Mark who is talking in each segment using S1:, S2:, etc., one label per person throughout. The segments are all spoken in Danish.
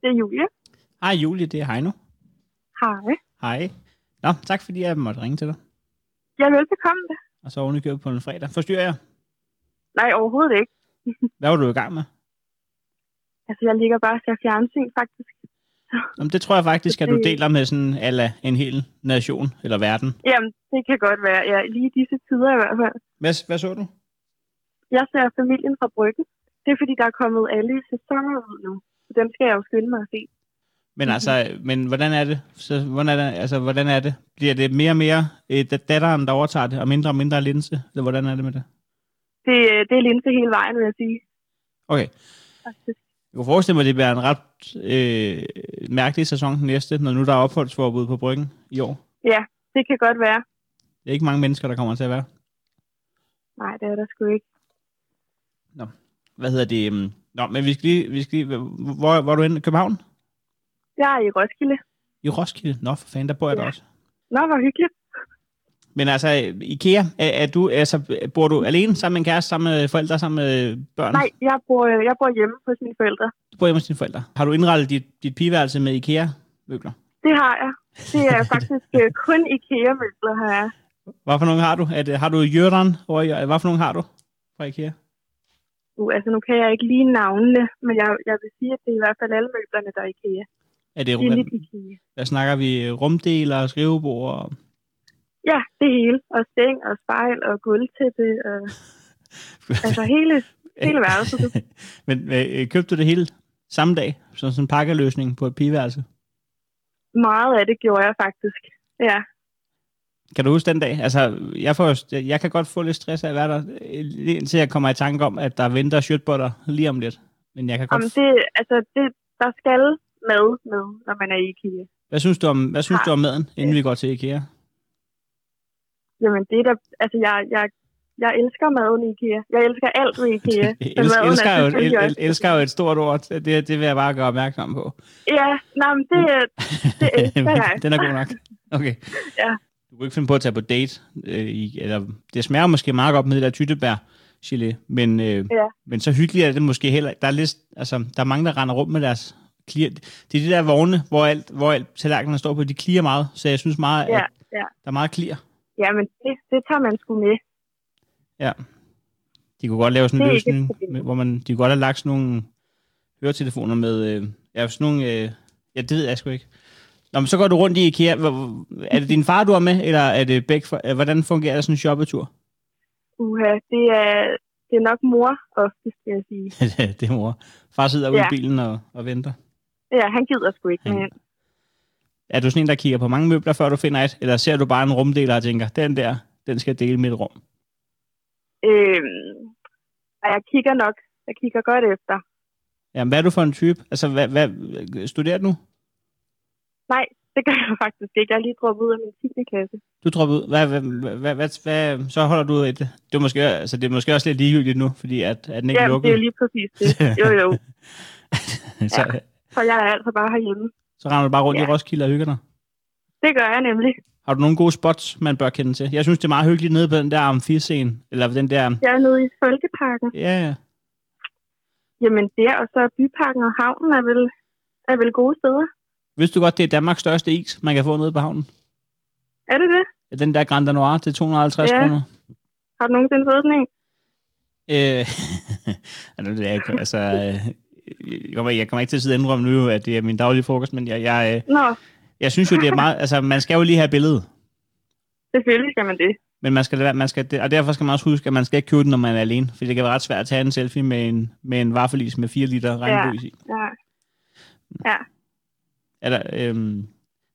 S1: Det er Julie.
S2: Hej Julie, det er Heino.
S1: Hej.
S2: Hej. Nå, tak fordi jeg måtte ringe til dig.
S1: Jeg er velbekomme.
S2: Og så oven i købet på en fredag. Forstyrrer jeg?
S1: Nej, overhovedet ikke.
S2: Hvad var du i gang med?
S1: Altså, jeg ligger bare og ser fjernsyn, faktisk.
S2: Jamen, det tror jeg faktisk, at du deler med sådan ala en hel nation eller verden.
S1: Jamen, det kan godt være. Ja, lige i disse tider i hvert fald.
S2: Hvad, hvad så du?
S1: Jeg ser familien fra Bryggen. Det er, fordi der er kommet alle sæsoner ud nu. Så dem skal jeg jo skynde mig at se.
S2: Men altså, men hvordan er det? Så, hvordan er det? Altså, hvordan er det? Bliver det mere og mere øh, dat- datteren, der overtager det, og mindre og mindre linse? Eller hvordan er det med det?
S1: Det, øh, det er linse hele vejen, vil jeg sige.
S2: Okay.
S1: Faktisk.
S2: Jeg kunne forestille mig, at det bliver en ret øh, mærkelig sæson den næste, når nu der er opholdsforbud på bryggen i år.
S1: Ja, det kan godt være.
S2: Det er ikke mange mennesker, der kommer til at være.
S1: Nej, det er der sgu ikke.
S2: Hvad hedder det? øhm, Nå, men vi skal lige... Vi skal lige hvor, hvor er du henne? København?
S1: Jeg er i Roskilde.
S2: I Roskilde? Nå, for fanden, der bor jeg ja.
S1: Ja.
S2: da også.
S1: Nå, hvor hyggeligt.
S2: Men altså, Ikea, er, er du, altså, bor du alene sammen med en kæreste, sammen med forældre, sammen med børn?
S1: Nej, jeg bor, øh, jeg bor hjemme hos mine forældre.
S2: Du bor hjemme hos dine forældre. Har du indrettet dit, dit pigeværelse med Ikea-møbler?
S1: Det har jeg. Det er faktisk øh, kun IKEA-møbler har jeg.
S2: Hvad for nogle har du? Er det, har du Jørgen over i, hvad for nogle har du fra Ikea?
S1: Uh, altså, nu kan jeg ikke lige navnene, men jeg, jeg vil sige, at det er i hvert fald alle møblerne, der er IKEA.
S2: Er det,
S1: Det er
S2: hvad,
S1: lidt IKEA.
S2: hvad snakker vi? Rumdeler, skrivebord? og-
S1: Ja, det hele. Og seng og spejl og gulvtæppe. Og, altså hele, hele værelset.
S2: Men øh, købte du det hele samme dag? Som sådan en pakkeløsning på et pigeværelse?
S1: Meget af det gjorde jeg faktisk. Ja,
S2: Kan du huske den dag? Altså, jeg, får, jo- jeg kan godt få lidt stress af at være der, øh, lige indtil jeg kommer i tanke om, at der venter shirtbutter lige om lidt. Men jeg kan godt
S1: Jamen, det, altså, det, der skal mad med, når man er i IKEA.
S2: Hvad synes du om, hvad synes
S1: Har-
S2: du om maden, inden vi går til IKEA?
S1: Jamen, det er der, altså, jeg, jeg, jeg elsker maden i IKEA. Jeg elsker alt ved IKEA. Men
S2: Elsker,
S1: maden er
S2: elsker, jo,
S1: selvfølgelig
S2: el, el,
S1: også-
S2: elsker jo et stort ord, det, det vil jeg bare gøre opmærksom på.
S1: Ja, nej, men det, det elsker jeg.
S2: Den er god nok. Okay.
S1: Ja.
S2: Du kunne ikke finde på at tage på date. Øh, i, eller, det smager måske meget godt med det der tyttebær chili, men, øh,
S1: Ja.
S2: men så hyggeligt er det måske heller. Der er, lidt, altså, der er mange, der render rundt med deres klient. Det er de der vogne, hvor alt, hvor alt tallerkenerne står på, de klier meget, så jeg synes meget,
S1: Ja,
S2: at
S1: ja.
S2: der er meget klier.
S1: Ja, men det, det tager man sgu med.
S2: De kunne godt lave sådan en
S1: Det er ikke et
S2: løsning,
S1: problem.
S2: med- hvor man, de kunne godt have lagt sådan nogle høretelefoner med, øh, ja, sådan nogle, øh, ja, det ved jeg sgu ikke. Nå, men så går du rundt i IKEA. Hvor- hvor- Er det din far, du er med, eller er det begge for, øh, hvordan fungerer sådan en shoppetur?
S1: Uha, det er, det er nok mor oftest, vil jeg sige.
S2: det er mor. Far sidder ude
S1: Ja.
S2: i bilen og, og venter.
S1: Ja, han gider sgu ikke med
S2: Han-
S1: ind.
S2: Er du sådan en, der kigger på mange møbler, før du finder et, eller ser du bare en rumdeler og tænker, den der, den skal dele mit rum?
S1: Øhm, og jeg kigger nok. Jeg kigger godt efter.
S2: Jamen, hvad er du for en type? Altså, hvad, hvad, studerer du nu?
S1: Det gør jeg faktisk ikke. Jeg er lige droppet ud af min 10. klasse.
S2: Du dropper ud. Hvad, hvad, hvad, hvad, hvad, hvad, så holder du et... Det er måske, altså, det er måske også lidt ligegyldigt nu, fordi at, at den ikke
S1: Ja, det er
S2: er lukket.
S1: jo lige præcis det. Jo, jo.
S2: så,
S1: Så jeg er altså bare herhjemme.
S2: så render du bare rundt ja. i
S1: Ja.
S2: Roskilde og hygger dig.
S1: Det gør jeg nemlig.
S2: Har du nogle gode spots, man bør kende til? Jeg synes, det er meget hyggeligt nede på den der amfiscene, eller den der...
S1: Jeg er nede i Folkeparken.
S2: Ja, ja.
S1: Jamen der, og så er Byparken og Havnen er vel, er vel gode steder.
S2: Vidste du godt, det er Danmarks største is, man kan få nede på havnen?
S1: Er det det?
S2: Ja, Den der Grand Noir til 250
S1: Ja.
S2: kroner.
S1: Har du nogensinde fået sådan en?
S2: Øh, altså, det er ikke, altså, øh, jeg kommer, jeg kommer ikke til at sidde og indrømme nu, at det er min daglige frokost, men jeg, jeg, øh,
S1: Nå,
S2: jeg synes jo, det er meget... Altså, man skal jo lige have billedet.
S1: selvfølgelig skal man det.
S2: Men man skal, lade være- man skal, og derfor skal man også huske, at man skal ikke købe den, når man er alene. For det kan være ret svært at tage en selfie med en, med en vaffelis med 4 liter regnbøs i.
S1: Ja.
S2: Eller, øhm,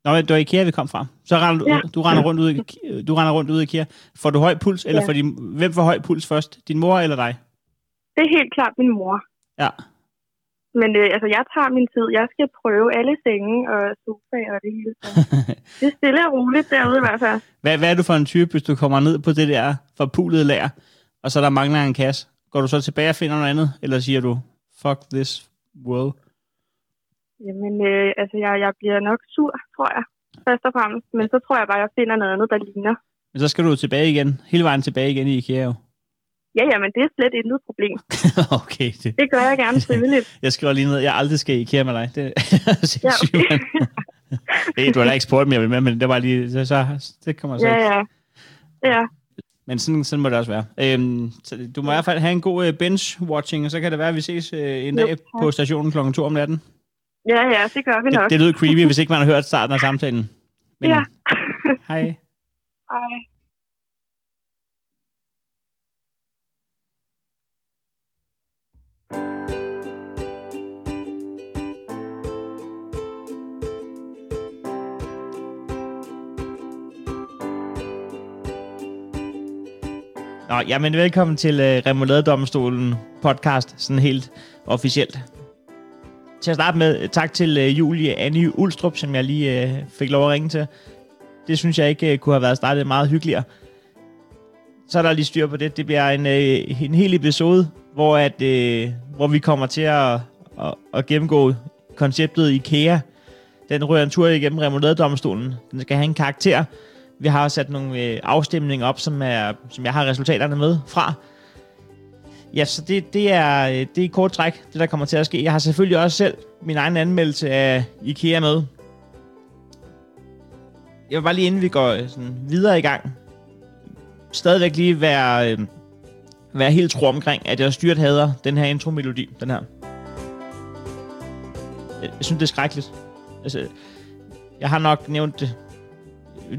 S2: Nå, det var IKEA, vi kom fra. Så render du, ja.
S1: Ja.
S2: du, render rundt ud, i- du render rundt ud i IKEA. Får du høj puls, eller
S1: Ja.
S2: får din, hvem får høj puls først? Din mor eller dig?
S1: Det er helt klart min mor.
S2: Ja.
S1: Men øh, altså, jeg tager min tid. Jeg skal prøve alle senge og sofaer og det hele. Så det er stille og roligt derude i hvert fald.
S2: Hvad, hvad er du for en type, hvis du kommer ned på det der forpulede lager, og så der mangler en kasse? Går du så tilbage og finder noget andet, eller siger du, fuck this world?
S1: Jamen, øh, altså, jeg, jeg bliver nok sur, tror jeg. Først og fremmest. Men så tror jeg bare, jeg finder noget andet, der ligner.
S2: Men så skal du tilbage igen, hele vejen tilbage igen i IKEA jo.
S1: Ja, ja, men det er slet intet problem.
S2: okay, det,
S1: Det gør jeg gerne frivilligt.
S2: jeg skriver lige ned, jeg aldrig skal i IKEA med dig. Det er sindssygt,
S1: okay.
S2: mand. Hey, du har da ikke spurgt mere med, men det var lige, så, så det kommer så
S1: Ja,
S2: ikke.
S1: ja. Ja,
S2: Men sådan, sådan må det også være. Øhm, så du må i hvert fald have en god øh, binge-watching, og så kan det være, at vi ses øh, en
S1: Jo,
S2: dag på stationen kl. 2 om natten.
S1: ja, ja, det gør vi
S2: Det,
S1: nok.
S2: det lød creepy, hvis ikke man har hørt starten af samtalen. Men,
S1: Ja.
S2: Hej.
S1: Ej.
S2: Nå, jamen velkommen til øh, Remouladedomstolen podcast, sådan helt officielt. Til at starte med, øh, tak til øh, Julie Annie Ulstrup, som jeg lige øh, fik lov at ringe til. Det synes jeg ikke øh, kunne have været startet meget hyggeligere. Så er der lige styr på det. Det bliver en, øh, en hel episode, hvor, at, øh, hvor vi kommer til at, at, at gennemgå konceptet IKEA. Den rører en tur igennem Remouladedomstolen. Den skal have en karakter. Vi har sat nogle øh, afstemninger op, som, er, som jeg har resultaterne med fra. Ja, så det, det, er, øh, det er i kort træk, det der kommer til at ske. Jeg har selvfølgelig også selv min egen anmeldelse af IKEA med. Jeg vil bare lige inden vi går øh, sådan videre i gang, stadigvæk lige være, øh, være helt tro omkring, at jeg styrt hader den her intro-melodi, den her. Jeg jeg synes, det er skrækkeligt. Altså, jeg har nok nævnt det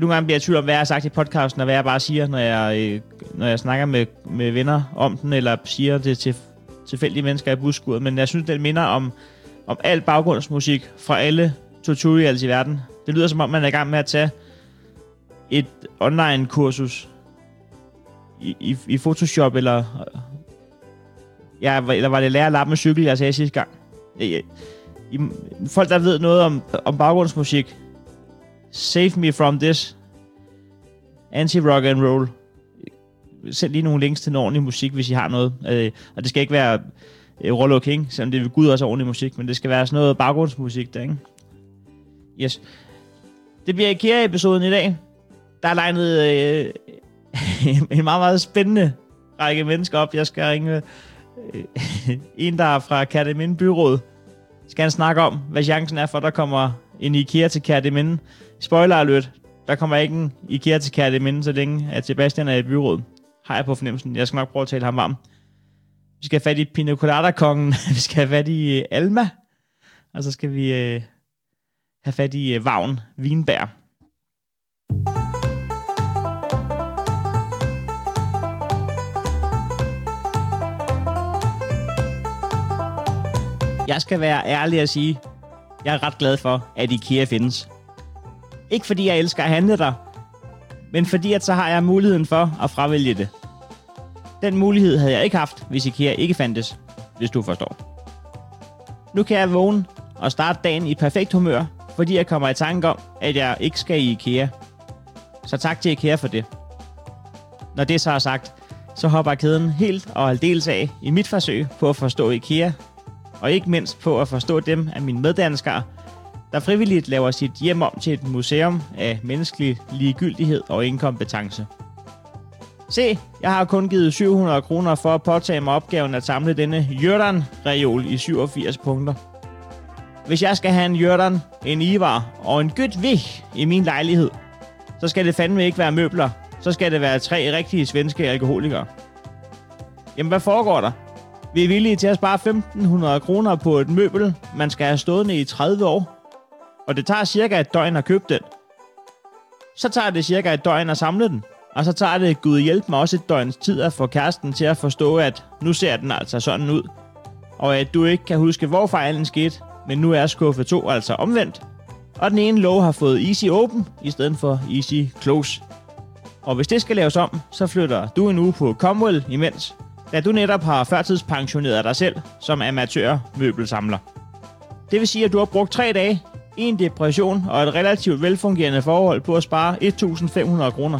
S2: nogle gange bliver jeg i tvivl om, hvad jeg har sagt i podcasten, og hvad jeg bare siger, når jeg, øh, når jeg snakker med, med venner om den, eller siger det til tilfældige mennesker i busskuret. Men jeg synes, den minder om, om al baggrundsmusik fra alle tutorials i verden. Det lyder, som om man er i gang med at tage et online-kursus i, i, i Photoshop, eller, ja, eller var det lære at lappe med cykel, jeg sagde sidste gang. I, i, folk, der ved noget om, om baggrundsmusik, Save me from this. Anti-rock and roll. Send lige nogle links til noget ordentlig musik, hvis I har noget. Øh, og det skal ikke være øh, Rollo King, selvom det ved Gud også er ordentlig musik, men det skal være sådan noget baggrundsmusik der, ikke? Yes. Det bliver IKEA-episoden i dag. Der er legnet øh, en meget, meget spændende række mennesker op. Jeg skal ringe øh, en, der er fra Kærteminde Byråd. Skal han snakke om, hvad chancen er for, at der kommer en IKEA til Kærteminde. Spoiler alert. Der kommer ikke en IKEA til Kærteminde, så længe at Sebastian er i byrådet. Har jeg på fornemmelsen. Jeg skal nok prøve at tale ham varm. Vi skal have fat i Pina Colada-kongen. vi skal have fat i øh, Alma. Og så skal vi øh, have fat i øh, Vagn Vinbær. Jeg skal være ærlig og sige, jeg er ret glad for, at IKEA findes. Ikke fordi jeg elsker at handle der, men fordi at så har jeg muligheden for at fravælge det. Den mulighed havde jeg ikke haft, hvis IKEA ikke fandtes, hvis du forstår. Nu kan jeg vågne og starte dagen i perfekt humør, fordi jeg kommer i tanke om, at jeg ikke skal i IKEA. Så tak til IKEA for det. Når det så er sagt, så hopper kæden helt og aldeles af i mit forsøg på at forstå IKEA, og ikke mindst på at forstå dem af mine meddanskere, der frivilligt laver sit hjem om til et museum af menneskelig ligegyldighed og inkompetence. Se, jeg har kun givet 700 kroner for at påtage mig opgaven at samle denne jørdan reol i 87 punkter. Hvis jeg skal have en jørdan, en ivar og en gødt vig i min lejlighed, så skal det fandme ikke være møbler, så skal det være tre rigtige svenske alkoholikere. Jamen, hvad foregår der? Vi er villige til at spare 1.500 kroner på et møbel, man skal have stående i 30 år, og det tager cirka et døgn at købe den. Så tager det cirka et døgn at samle den, og så tager det gud hjælp mig også et døgns tid at få kæresten til at forstå, at nu ser den altså sådan ud, og at du ikke kan huske, hvor fejlen skete, men nu er skuffe 2 altså omvendt, og den ene låge har fået Easy Open i stedet for Easy Close. Og hvis det skal laves om, så flytter du en uge på Comwell imens, da du netop har førtidspensioneret dig selv som amatør møbelsamler. Det vil sige, at du har brugt tre dage, en depression og et relativt velfungerende forhold på at spare 1.500 kroner.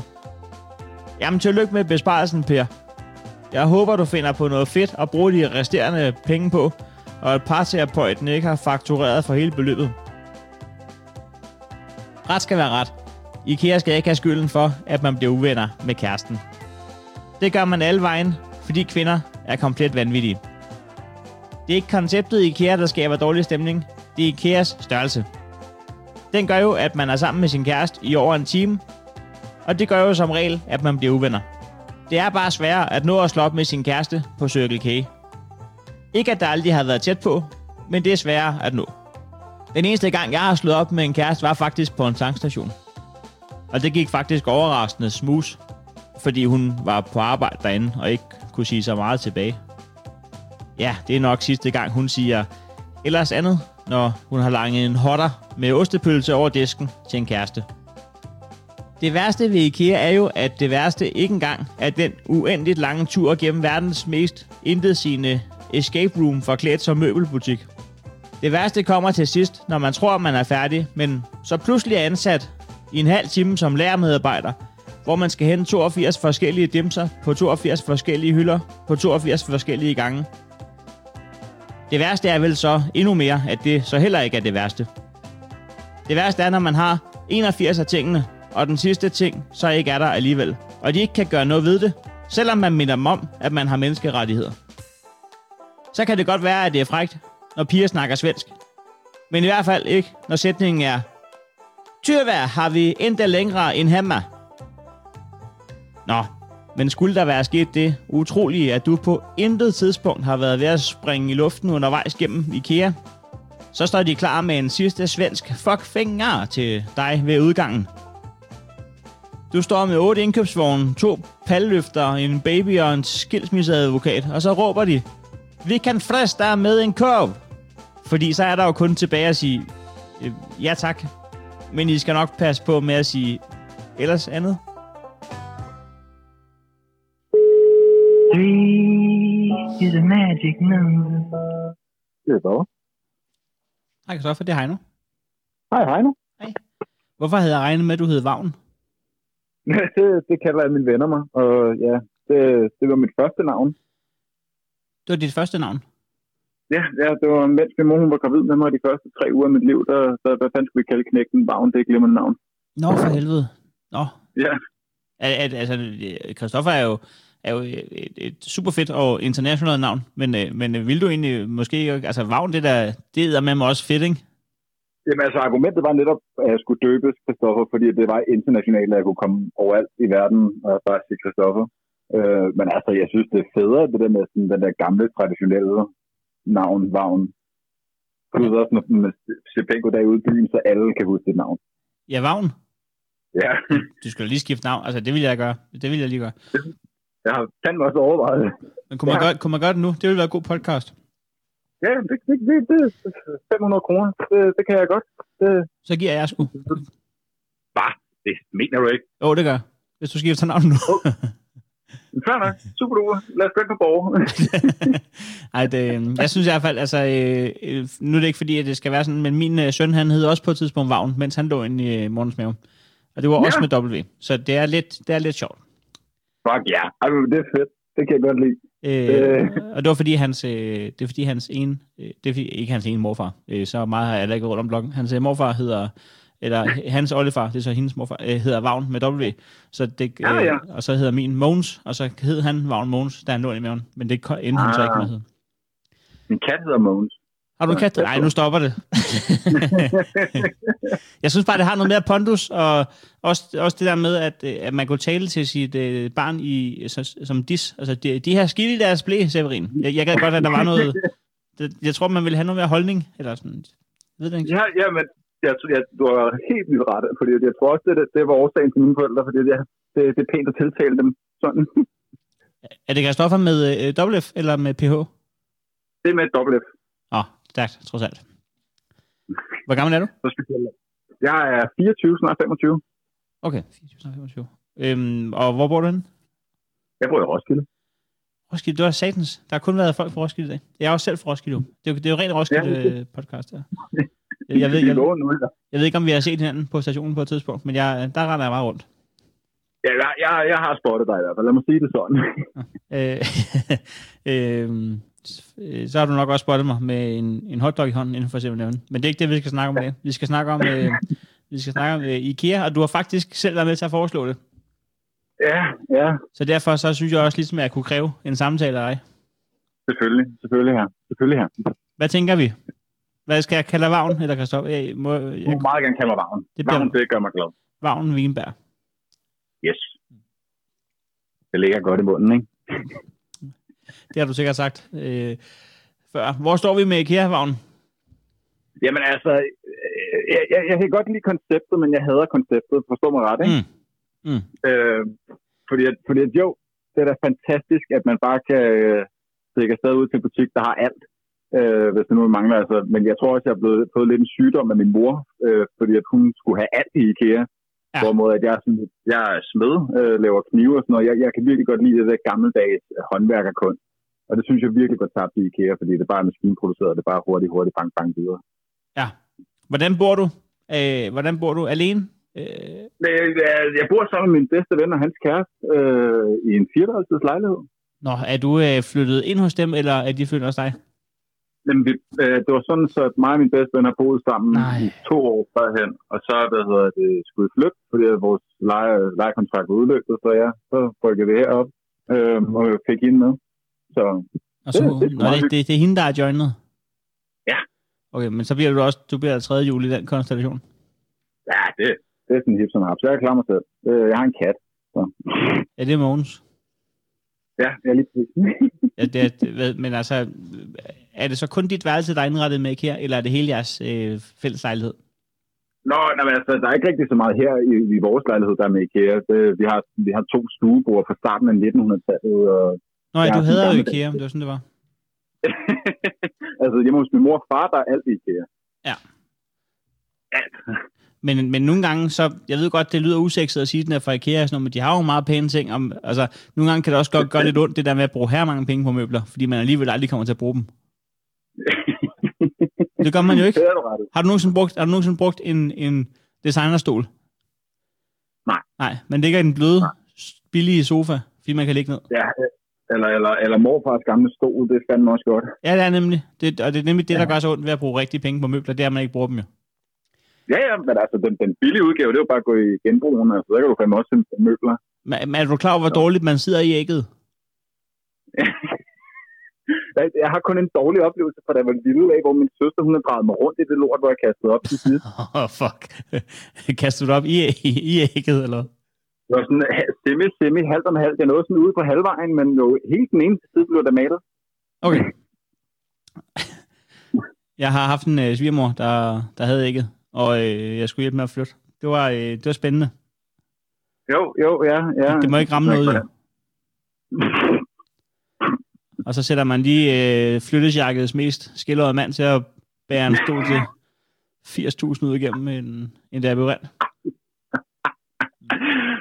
S2: Jamen, tillykke med besparelsen, Per. Jeg håber, du finder på noget fedt at bruge de resterende penge på, og at parterapeuten ikke har faktureret for hele beløbet. Ret skal være ret. IKEA skal ikke have skylden for, at man bliver uvenner med kæresten. Det gør man alle vejen fordi kvinder er komplet vanvittige. Det er ikke konceptet i IKEA, der skaber dårlig stemning. Det er IKEAs størrelse. Den gør jo, at man er sammen med sin kæreste i over en time, og det gør jo som regel, at man bliver uvenner. Det er bare sværere at nå at slå op med sin kæreste på Circle K. Ikke at der aldrig har været tæt på, men det er sværere at nå. Den eneste gang, jeg har slået op med en kæreste, var faktisk på en tankstation. Og det gik faktisk overraskende smooth, fordi hun var på arbejde derinde og ikke kunne sige så meget tilbage. Ja, det er nok sidste gang, hun siger ellers andet, når hun har langet en hotter med ostepølse over disken til en kæreste. Det værste ved IKEA er jo, at det værste ikke engang er den uendeligt lange tur gennem verdens mest intetsigende escape room forklædt som møbelbutik. Det værste kommer til sidst, når man tror, man er færdig, men så pludselig er ansat i en halv time som lærermedarbejder, hvor man skal hente 82 forskellige dimser på 82 forskellige hylder på 82 forskellige gange. Det værste er vel så endnu mere, at det så heller ikke er det værste. Det værste er, når man har 81 af tingene, og den sidste ting så ikke er der alligevel, og de ikke kan gøre noget ved det, selvom man minder dem om, at man har menneskerettigheder. Så kan det godt være, at det er frægt, når piger snakker svensk. Men i hvert fald ikke, når sætningen er Tyrvær har vi endda længere end hammer. Nå, men skulle der være sket det utrolige, at du på intet tidspunkt har været ved at springe i luften undervejs gennem IKEA, så står de klar med en sidste svensk fuck finger til dig ved udgangen. Du står med otte indkøbsvogne, to palløfter, en baby og en skilsmisseadvokat, og så råber de, vi kan friste dig med en kurv. Fordi så er der jo kun tilbage at sige, øh, ja tak, men I skal nok passe på med at sige, ellers andet.
S3: Three is a magic number.
S4: Det er Bauer.
S2: Hej Kristoffer, det er Heino.
S4: Hej, hej nu.
S2: Hvorfor havde jeg regnet med, at du hed Vagn?
S4: det, det kalder mine venner mig, og ja, det, det var mit første navn.
S2: Det var dit første navn.
S4: Ja, ja, det var mens min mor hun var gravid med mig de første tre uger af mit liv, der, der hvad fanden skulle vi kalde knægten Vagn, det er et glimrende navn.
S2: Nå, for helvede. Nå.
S4: Ja.
S2: Al- al- altså, øh, Christoffer er jo, er jo et, et super fedt og internationalt navn, men, øh, men øh, vil du egentlig måske... ikke- Altså, Vagn, det der, det er med mig også fedt, ikke?
S4: Jamen altså, argumentet var netop, at jeg skulle døbes Christoffer, fordi det var internationalt, at jeg kunne komme overalt i verden og bare sige Christoffer. Øh, men altså, jeg synes, det er federe, det der med sådan, den der gamle, traditionelle navn, Vagn. Du ved også, når man ser penge dag ude i byen, så alle kan huske dit navn.
S2: Ja, Vagn.
S4: Ja,
S2: Du skal da lige skifte navn. Altså, det vil jeg gøre. Det vil jeg lige gøre.
S4: jeg har fandme også overvejet det.
S2: Men kunne man,
S4: Ja.
S2: gøre, kunne man gøre det nu? Det ville være en god podcast.
S4: Ja, det, det, det, det er 500 kroner. Det, det kan jeg godt. Det,
S2: Så giver jeg sgu.
S4: det mener du ikke.
S2: Jo, det gør jeg. Hvis du skifter navn nu.
S4: Fair nok. Super duper. Lad os gå ind på borg.
S2: Ej, det, øhm, jeg synes i hvert fald, altså, øh, øh, nu er det ikke fordi, at det skal være sådan, men min øh, søn, han hed også på et tidspunkt Vagn, mens han lå inde i øh, morgens mave. Og det var også med W, så det er lidt, det er lidt sjovt.
S4: Fuck ja. Yeah. det er fedt. Det kan jeg godt lide.
S2: Øh,
S4: Øh.
S2: og det var fordi hans, øh, det er fordi hans ene, øh, det er fordi, ikke hans ene morfar, øh, så meget har jeg heller ikke rundt om blokken. Hans øh, morfar hedder, eller hans oldefar, det er så hendes morfar, øh, hedder Vagn med W. Så det, øh,
S4: Ja, ja.
S2: Og så hedder min Mogens, og så hed han Vagn Mogens, da han lå inde i maven. Men det ko- endte han så ikke med at hedde.
S4: Min kat hedder Mogens.
S2: Har du en kat? Nej, nu stopper det. jeg synes bare, det har noget mere pondus, og også, også det der med, at, øh, at man kunne tale til sit øh, barn i, som, som dis. Altså, de, de har skidt i deres blæ, Severin. Jeg, jeg gad godt, at der var noget... Det, jeg tror, man ville have noget mere holdning, eller sådan... Ved det ikke?
S4: Ja, ja, men jeg, tror- jeg, du har helt vildt ret. Fordi jeg tror også, det, det, det var årsagen til mine forældre. Fordi det, det, det er pænt at tiltale dem sådan.
S2: Er det Kristoffer med øh, WF eller med PH?
S4: Det er med et dobbelt F.
S2: Åh, stærkt, trods alt. Hvor gammel er du?
S4: Så skal jeg, jeg er 24, snart 25.
S2: Okay, 24, snart 25. Øhm, og hvor bor du henne?
S4: Jeg bor i Roskilde.
S2: Roskilde, du har satans. Der har kun været folk fra Roskilde i dag. Jeg er også selv fra Roskilde. jo. Det er jo, det er jo rent
S4: Ja, det er
S2: Roskilde-podcast, ja, der. Jeg ved, jeg,
S4: lover nu, ikke?
S2: jeg ved ikke, om vi har set hinanden på stationen på et tidspunkt, men jeg, der render jeg meget rundt.
S4: Ja, jeg, jeg, jeg har spottet dig i hvert fald. Lad mig sige det sådan.
S2: Øh, øhm, s- øh, så har du nok også spottet mig med en, en hotdog i hånden inden for 7 Men det er ikke det, vi skal snakke om i dag. Vi skal snakke om, øh, vi skal snakke om øh, IKEA, og du har faktisk selv været med til at foreslå det.
S4: Ja, ja,
S2: Så derfor så synes jeg også ligesom, at jeg kunne kræve en samtale af dig.
S4: selvfølgelig. Selvfølgelig her. Selvfølgelig her.
S2: Hvad tænker vi? Hvad skal jeg kalde dig? Vagn eller Kristoffer? Jeg må,
S4: Du
S2: jeg,
S4: må meget gerne kalde mig Vagn.
S2: Det
S4: Det,
S2: bliver-
S4: Vagn, det gør mig glad.
S2: Vagn Wienberg.
S4: Yes. Det ligger godt i munden, ikke?
S2: Det har du sikkert sagt øh, før. Hvor står vi med IKEA, Vagn?
S4: Jamen altså, øh, jeg, jeg, jeg kan godt lide konceptet, men jeg hader konceptet. Forstår mig ret, ikke?
S2: Mm. Mm.
S4: Øh, fordi, at, fordi at, jo, det er da fantastisk, at man bare kan øh, stikke afsted ud til en butik, der har alt, øh, hvis det nu mangler. Altså. Men jeg tror også, jeg har blevet, fået lidt en sygdom af min mor, øh, fordi at hun skulle have alt i IKEA.
S2: Ja.
S4: Ja. Hvorimod at jeg, er sådan, jeg er smed, øh, laver knive og sådan noget. Jeg, jeg kan virkelig godt lide det der gammeldags håndværkerkunst. Og det synes jeg virkelig godt tabt i IKEA, fordi det er bare maskinproduceret, og det er bare hurtigt, hurtigt, bang, bang videre.
S2: Ja. Hvordan bor du? Øh, hvordan bor du? Alene? Øh,
S4: Men Jeg, jeg- jeg bor sammen med min bedste ven og hans kæreste øh, i en fireværelses lejlighed.
S2: nå, er du øh, flyttet ind hos dem, eller er de flyttet hos dig?
S4: Jamen, vi, øh, det var sådan, så at mig og min bedste ven har boet sammen
S2: Nej.
S4: Nej. i to år førhen, og så hvad hedder det, skulle vi flytte, fordi at vores leje, lejekontrakt var udløbet, så ja, så rykkede vi herop øh, og fik hende med. Så
S2: Og så,
S4: Det- det er sgu
S2: nå,
S4: meget
S2: det, det, det er hende, der er joinet?
S4: Ja.
S2: Okay, men så bliver du også, du bliver tredje jul i den konstellation.
S4: ja, det, det er sådan hip som hap. Så jeg klarer mig selv. Øh, jeg har en kat. Så.
S2: Ja, det er Mogens.
S4: Ja, jeg er lige præcis.
S2: Ja, det er, det- hvad- men altså, øh, er det så kun dit værelse, der er indrettet med IKEA, eller er det hele jeres øh, fælles lejlighed?
S4: Nå, nej, men altså, der er ikke rigtig så meget her i, i vores lejlighed, der er med IKEA. Det, vi, har, vi har to stuebord fra starten af 1900-tallet, og
S2: Nå ja,
S4: Ja,
S2: du
S4: den
S2: hader jo
S4: gamle-
S2: IKEA, det var sådan, det var.
S4: altså, hjemme hos min mor og far, der er alt IKEA.
S2: Men, men nogle gange, så, jeg ved godt, det lyder usekset at sige, at den er fra IKEA, og sådan noget, men de har jo meget pæne ting. Om, altså, nogle gange kan det også godt gøre lidt ondt, det der med at bruge her mange penge på møbler, fordi man alligevel aldrig kommer til at bruge dem. Det gør man jo ikke.
S4: Det er du ret i.
S2: Har du nogensinde brugt, har du nogensinde brugt en, en designerstol?
S4: Nej.
S2: Nej, man ligger i den bløde, billige sofa, fordi man kan ligge ned.
S4: Ja, eller, eller, eller morfars gamle stol, det er fandme også godt.
S2: Ja, det er nemlig. Det, og det er nemlig det, der gør så ondt ved at bruge rigtige penge på møbler, det er, at man ikke bruger dem jo.
S4: Ja, ja, men altså, den, den billige udgave, det er jo bare at gå i genbrugen, altså, der kan du fandme også finde møbler.
S2: Men, men er du klar over, hvor dårligt man sidder i ægget?
S4: Jeg, jeg har kun en dårlig oplevelse fra da jeg var lille af, hvor min søster, hun har drejet mig rundt i det lort, hvor jeg kastede op til side.
S2: Åh, oh, fuck. Kaster du det op i, i, i ægget, eller hvad?
S4: Det var sådan ha- semi, semi, halvt om halvt. Jeg nåede sådan ude på halvvejen, men jo helt den ene side blev der malet.
S2: Okay. Jeg har haft en øh, svigermor, der, der havde ægget, og øh, jeg skulle hjælpe med at flytte. Det var, øh, det var spændende.
S4: Jo, jo, ja, ja.
S2: Det må ikke ramme noget, jo. Og så sætter man lige øh, flyttesjakkets mest skildrede mand til at bære en stol til 80.000 ud igennem en, en labyrint.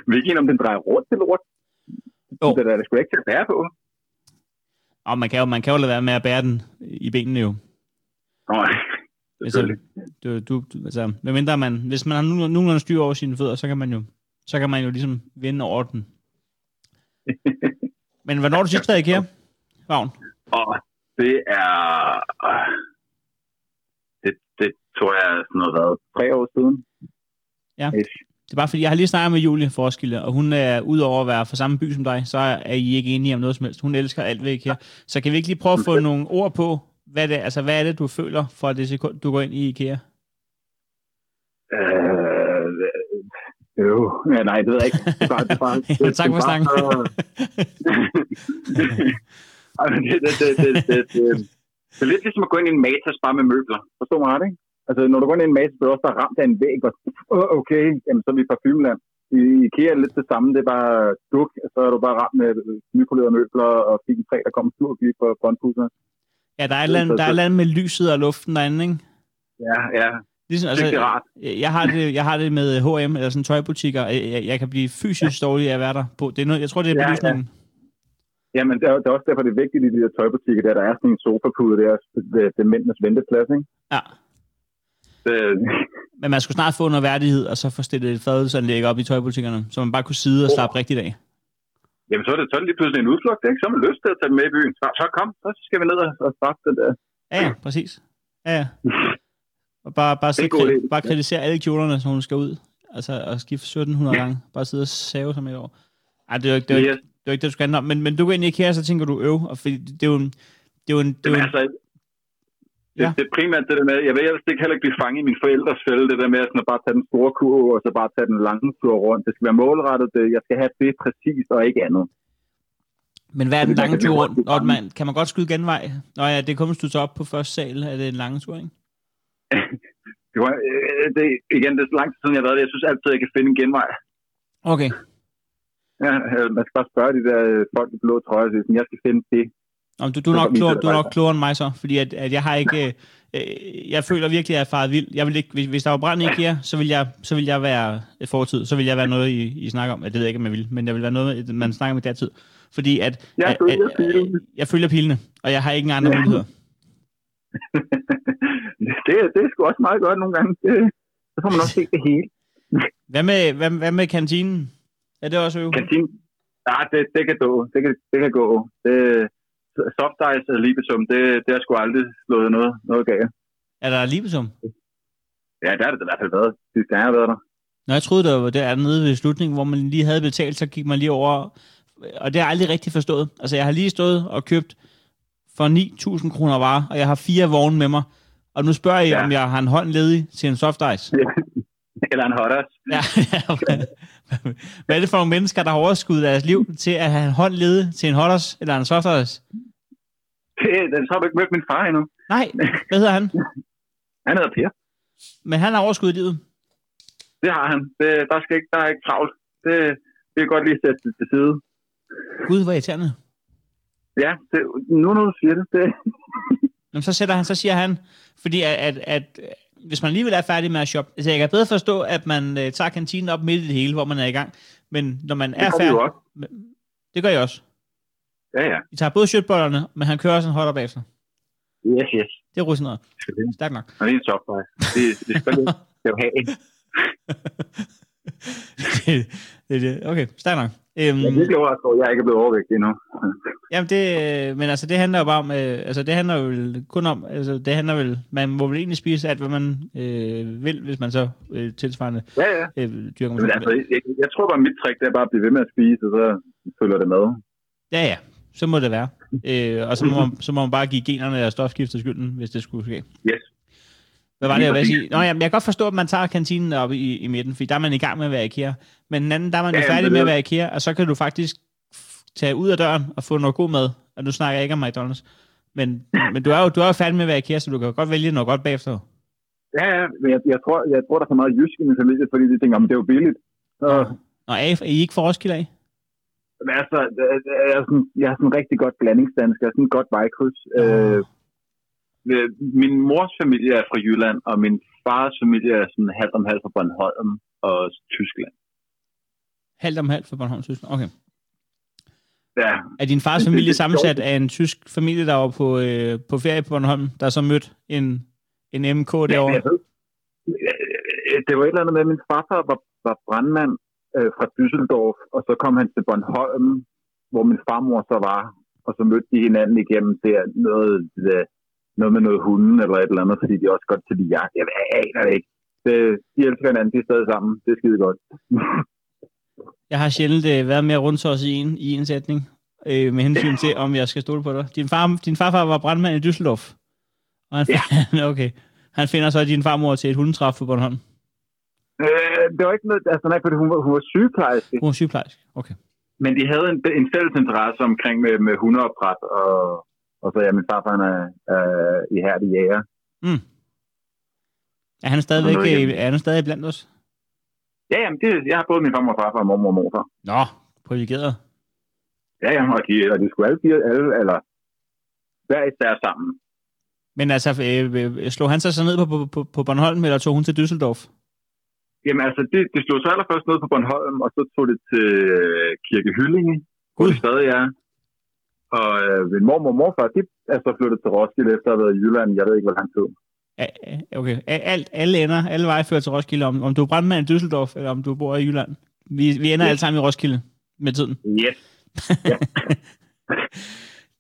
S4: Hvilken om den drejer rundt det lort?
S2: Jo.
S4: Jo. Det er der, der skulle ikke til at bære på.
S2: Og man kan, jo, man kan jo lade være med at bære den i benene jo.
S4: Nej,
S2: Altså, du, du, du, altså, medmindre man, hvis man har nogen- nogenlunde styr over sine fødder, så kan man jo, så kan man jo ligesom vinde over den. Men hvornår er du sidst været i IKEA, Vagn?
S4: Og det er... øh, Det, det tror jeg er sådan noget været tre år siden.
S2: Ja.
S4: Ish.
S2: Det er bare fordi, jeg har lige snakket med Julie Forskilde, og hun er udover at være fra samme by som dig, så er I ikke enige om noget som helst. Hun elsker alt ved IKEA. Så kan vi ikke lige prøve at få nogle ord på, hvad det, altså, hvad er det, du føler for det sekund, du går ind i IKEA?
S4: Øh, øh, ja, nej, det ved jeg ikke. Det er bare, det er bare,
S2: Ja,
S4: det-
S2: tak
S4: det er
S2: for
S4: bare
S2: snakken.
S4: så- Ej, men det, det, det, det, det, det, det er lidt ligesom at gå ind i en matas bare med møbler. Forstår mig ret, ikke? Altså, når du går ind i en matas, bliver du også bare ramt af en væg, og "Åh, okay, jamen, så er vi i parfumeland. I IKEA er det lidt det samme, det er bare duk, og så er du bare ramt med øh, nypolerede møbler og fik en træ, der kommer sur by på båndpusserne.
S2: Ja, der er et eller andet, der er et eller andet med lyset og luften derinde, ikke?
S4: Ja, ja,
S2: Ligesom,
S4: det er ikke rart.
S2: Jeg har, det, jeg har det med H&M eller sådan tøjbutikker. Øh, Jeg, jeg- jeg kan blive fysisk dårlig af at være der på. Det er noget, jeg tror, det er
S4: Ja, ja.
S2: belysningen.
S4: Jamen, det er, det er også derfor, det er vigtigt i de der tøjbutikker, der, der er sådan en sofapude, der er det, det er mændenes venteplads, ikke?
S2: Ja. ja.
S4: Det,
S2: Men man skulle snart få noget værdighed, og så få stillet et fadelsanlæg op i tøjbutikkerne, så man bare kunne sidde og slappe rigtigt af.
S4: jamen, så er det, så er det lige pludselig en udflugt, ikke? Så har man lyst til at tage det med i byen. Så, så kom, så skal vi ned og, og straffe den der.
S2: Ja, ja, præcis. Ja, ja. Og bare, bare,
S4: er
S2: sidde,
S4: en god
S2: kri-
S4: idé.
S2: bare kritisere alle kjolerne, som hun skal ud. Altså, og skifte 1700 gange. Bare sidde og save som et år. Ej, det er jo ikke det, er jo ikke,
S4: Yes.
S2: det, er jo ikke det du skal handle om. Men, men du går ind i IKEA, så tænker du, øv. Og fordi det er jo en... Det er jo en, det er jo en
S4: Jamen, altså, det,
S2: Ja.
S4: det er primært det der med, jeg vil helst ikke heller ikke blive fanget i mine forældres fælde, det der med at sådan at bare tage den store kurve, og så bare tage den lange tur rundt. Det skal være målrettet, det, jeg skal have det præcis, og ikke andet.
S2: men hvad er den
S4: fordi man
S2: lange
S4: kan
S2: tur
S4: løbe
S2: rundt?
S4: rundt i
S2: Og man, kan man godt skyde genvej? Nå ja, det kommer du så op på første sal. Er det en lang tur, ikke?
S4: Det, var, øh, det, igen, det er så lang tid siden, jeg har været der. Jeg synes altid, jeg kan finde en genvej.
S2: Okay.
S4: Ja, øh, man skal bare spørge de der øh, folk i blå trøjer, og sige sådan, jeg skal finde det.
S2: Om du, du, er
S4: Det
S2: nok
S4: var min
S2: klogere, du er
S4: fælles
S2: nok klogere end mig så, fordi at, at jeg har ikke... Øh, øh, jeg føler virkelig, at jeg er faret vild. Jeg vil ikke, hvis, hvis der var brand i IKEA, så vil jeg, så vil jeg være et fortid. Så vil jeg være noget, I, I snakker om. Ja, det ved jeg ikke, om jeg vil, men jeg vil være noget, man snakker om i datid. Fordi at...
S4: Jeg
S2: at,
S4: følger
S2: at, at,
S4: pilene.
S2: jeg følger pilene, og jeg har ikke andre
S4: Ja.
S2: muligheder.
S4: det, det er sgu også meget godt nogle gange. Det, så får man også set det hele.
S2: Hvad med, hvad, hvad med kantinen? Er det også øv?
S4: Kantine, ja, det, det kan gå. Det kan, det kan gå. Det, soft ice og libesum, det, det har sgu aldrig slået noget, noget galt.
S2: Er der libesum?
S4: Ja, der har det i hvert fald været. Det skal jeg har været der.
S2: Nå, jeg troede, der var dernede ved slutningen, hvor man lige havde betalt, så gik man lige over. Og det har jeg aldrig rigtig forstået. Altså, jeg har lige stået og købt for 9.000 kroner varer, og jeg har fire vogne med mig. Og nu spørger jeg, ja.
S4: Ja.
S2: om jeg har en hånd ledig til en soft ice.
S4: Eller en hot ice.
S2: Ja. hvad, hvad er det for nogle mennesker, der har overskud af deres liv til at have en hånd ledig til en hot ice eller en soft ice?
S4: Det, den så har du ikke mødt min far endnu.
S2: Nej, hvad hedder han?
S4: Han hedder Per.
S2: Men han har overskud i livet.
S4: Det har han. Det, der, skal ikke, der er ikke travlt. Det, det kan godt lige sætte det til side.
S2: Gud, hvor irriterende.
S4: Ja, det, nu når du siger det, det,
S2: Jamen, så, sætter han, så siger han, fordi at, at, at hvis man alligevel er færdig med at shoppe, altså jeg kan bedre forstå, at man øh, tager kantinen op midt i det hele, hvor man er i gang, men når man
S4: det
S2: er
S4: gør vi
S2: færdig,
S4: jo også.
S2: det gør jeg også.
S4: Ja, ja.
S2: I tager både shirtbollerne, men han kører også en hot bagefter.
S4: Yes, yes.
S2: Det er rusineret.
S4: Selvfølgelig.
S2: Stærkt nok.
S4: Og det er en soft ice. Det, det skal du skal du have.
S2: det, det, det, okay, stærkt nok. Øhm,
S4: Jeg er virkelig overrasket over, at jeg ikke er blevet overvægtig endnu.
S2: Jamen det, øh, men altså det handler jo bare om, øh, altså det handler jo kun om, altså det handler vel, man må vel egentlig spise alt, hvad man øh, vil, hvis man så øh, tilsvarende
S4: Ja, ja.
S2: øh, dyrker
S4: Men
S2: motion.
S4: altså, jeg, jeg tror bare, mit trick det er bare at blive ved med at spise, og så følger det med.
S2: Ja, ja. Så må det være. Øh, og så må, man, så må man bare give generne og stofskiftet skylden, hvis det skulle ske.
S4: Yes.
S2: Hvad var det, jeg ville
S4: Lige
S2: sige? Nå, jamen, jeg kan godt forstå, at man tager kantinen op i, i midten, fordi der er man i gang med at være IKEA. Men den anden, der er man jo
S4: Ja, jamen,
S2: færdig
S4: det
S2: med at
S4: ved
S2: være IKEA, og så kan du faktisk f- tage ud af døren og få noget god mad. Og nu snakker jeg ikke om McDonald's. Men, men du er jo du er jo færdig med at være IKEA, så du kan jo godt vælge noget godt bagefter.
S4: Ja, ja. Men jeg, jeg, tror, jeg tror, der er så meget jysk i min familie, fordi de tænker, om det er jo billigt. Så,
S2: Nå, er I, er I ikke for Roskilde af?
S4: men altså, jeg- jeg- jeg, er sådan, jeg er sådan en rigtig godt blandingsdansk. Jeg er sådan en godt vejkryds. Øh, øh, min mors familie er fra Jylland, og min fars familie er sådan halvt om halvt fra Bornholm og Tyskland.
S2: Halvt om halvt for Bornholm, Tyskland. Okay.
S4: Ja,
S2: Er din fars
S4: Det- det-
S2: familie
S4: det-
S2: sammensat af en tysk familie, der var på, øh, på ferie på Bornholm, der så mødte en, en MK
S4: men
S2: derovre?
S4: jeg ved- Øh, Det var et eller andet med, at min farfar var, var brandmand øh, fra Düsseldorf, og så kom han til Bornholm, hvor min farmor så var, og så mødte de hinanden igennem der noget, øh, noget med noget hunden eller et eller andet, fordi de også godt til de jagt. Jeg aner det ikke. Det, de elsker hinanden, de er stadig sammen. Det er skide godt.
S2: Jeg har sjældent øh, været mere rundt i en, i en sætning, øh, med hensyn til, om jeg skal stole på dig. Din, far, din farfar var brandmand i Düsseldorf. Og han, ja. okay. Han finder så din farmor til et hundetræf på Bornholm.
S4: Øh, det var ikke noget, altså nej, fordi hun var, hun var sygeplejerske,
S2: Hun er sygeplejerske. Okay.
S4: men de havde en, en fælles interesse omkring med, med hundeopdræt, og, og så ja, min farfar han er øh, ihærdig jæger.
S2: Er han stadigvæk
S4: Hun er
S2: øh,
S4: hjemme.
S2: er han stadig blandt os?
S4: Ja, jamen, det, jeg har både min farmor og farfar og mormor og morfar.
S2: Nå, privilegeret.
S4: Ja, jamen, og de, og de skulle alle fire, alle, eller hver især sammen.
S2: Men altså, øh, øh, slog han sig så ned på, på, på, på Bornholm, eller tog hun til Düsseldorf?
S4: Jamen altså, det, det slog sig allerførst ned på Bornholm, og så tog det til øh, Kirke Hyllinge, hvor
S2: Gud.
S4: det stadig er. Og øh, min mormor og morfar, de er så flyttet til Roskilde efter at have været i Jylland, jeg ved ikke, hvor lang tid.
S2: Ja, ja, Okay. A- Alt, alle ender, alle veje fører til Roskilde, om, om du er brandmand i Düsseldorf, eller om du bor i Jylland. Vi, vi ender
S4: Ja.
S2: alle sammen i Roskilde med tiden.
S4: Yes. Ja.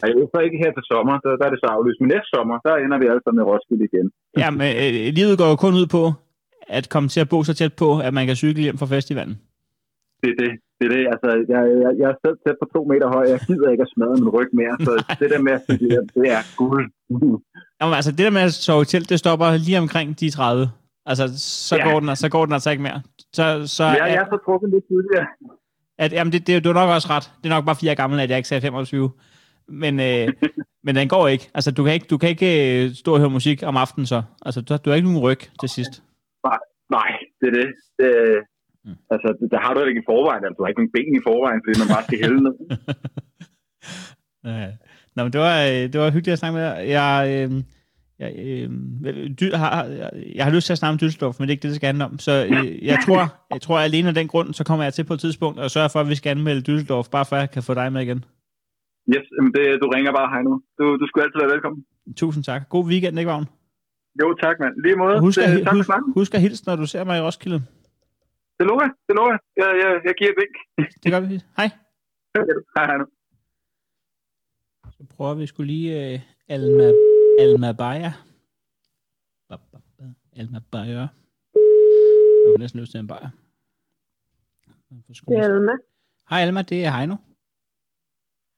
S4: Og jeg er så ikke her til sommer, der, der er det så aflyst. Men næste sommer, der ender vi alle sammen i Roskilde igen.
S2: Jamen, øh, livet går jo kun ud på at komme til at bo så tæt på, at man kan cykle hjem fra festivalen.
S4: det er det. Det er det. Altså, jeg, jeg, jeg er selv tæt på to meter høj. Jeg gider ikke at smadre min ryg mere. Så det der med at sige, det, det er guld.
S2: Jamen, altså, det der med at sove i telt, det stopper lige omkring de 30. Altså, så,
S4: Ja.
S2: ja. går, den, så går den altså ikke mere. Så, så
S4: jeg, jeg
S2: ja.
S4: er så trukket lidt tidligere.
S2: at, jamen, det, det, du har nok også ret. Det er nok bare fire gammel, at jeg ikke sagde 25. Men, øh, men den går ikke. Altså, du kan ikke, du kan ikke øh, stå og høre musik om aftenen så. Altså, du, du har ikke nogen ryg til sidst.
S4: Nej, det er det. det
S2: Mm.
S4: Altså, det, der har du heller ikke i forvejen. Altså, du har ikke nogen ben i forvejen, fordi man bare skal hælde ned.
S2: Ja. Nå, men det var, øh, det var hyggeligt at snakke med dig. Jeg, øh, jeg, øh, dy, har, jeg, jeg har lyst til at snakke om Düsseldorf, men det er ikke det, det skal handle om. Så øh, jeg tror, jeg tror at alene af den grund, så kommer jeg til på et tidspunkt og sørger for, at vi skal anmelde Düsseldorf, bare for at jeg kan få dig med igen.
S4: Yes, jamen, det, du ringer bare hej nu. Du, du skulle altid være velkommen.
S2: Tusind tak. God weekend, ikke, Vagn?
S4: Jo, tak, mand. Lige måde.
S2: Og husk,
S4: Det-
S2: at,
S4: tak for
S2: husk,
S4: snakken.
S2: husk at hilse, når du ser mig i Roskilde.
S4: Det lover jeg. Det lover jeg. Jeg, jeg, jeg giver et vink.
S2: Det gør vi. Hej.
S4: Hej, hej nu.
S2: Så prøver vi skulle lige øh, Alma, Alma Bayer. Ba, ba, ba. Alma Bayer. Jeg har næsten lyst til en bajer. Jeg får sgu
S1: Det er
S2: næsten-
S1: Alma.
S2: Hej Alma, det er Heino.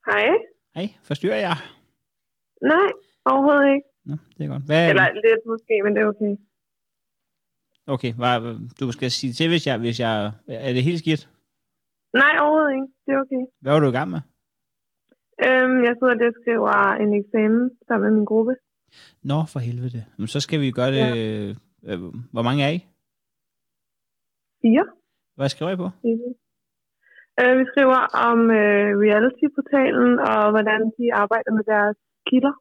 S1: Hej.
S2: Hej, forstyrrer jeg?
S1: Nej, overhovedet ikke.
S2: Nå, det er godt. Hvad,
S1: Eller lidt måske, men det er okay.
S2: okay, hvad, du skal sige til, hvis jeg, hvis jeg... Er det helt skidt?
S1: Nej, overhovedet ikke. Det er okay.
S2: Hvad var du i gang med?
S1: Øhm, jeg sidder og det skriver en eksamen sammen med min gruppe.
S2: Nå, for helvede. Jamen, så skal vi gøre det...
S1: Ja.
S2: Øh, øh, hvor mange er I?
S1: Fire.
S2: Hvad skriver I på?
S1: Øh, vi skriver om øh, reality-portalen og hvordan de arbejder med deres kilder.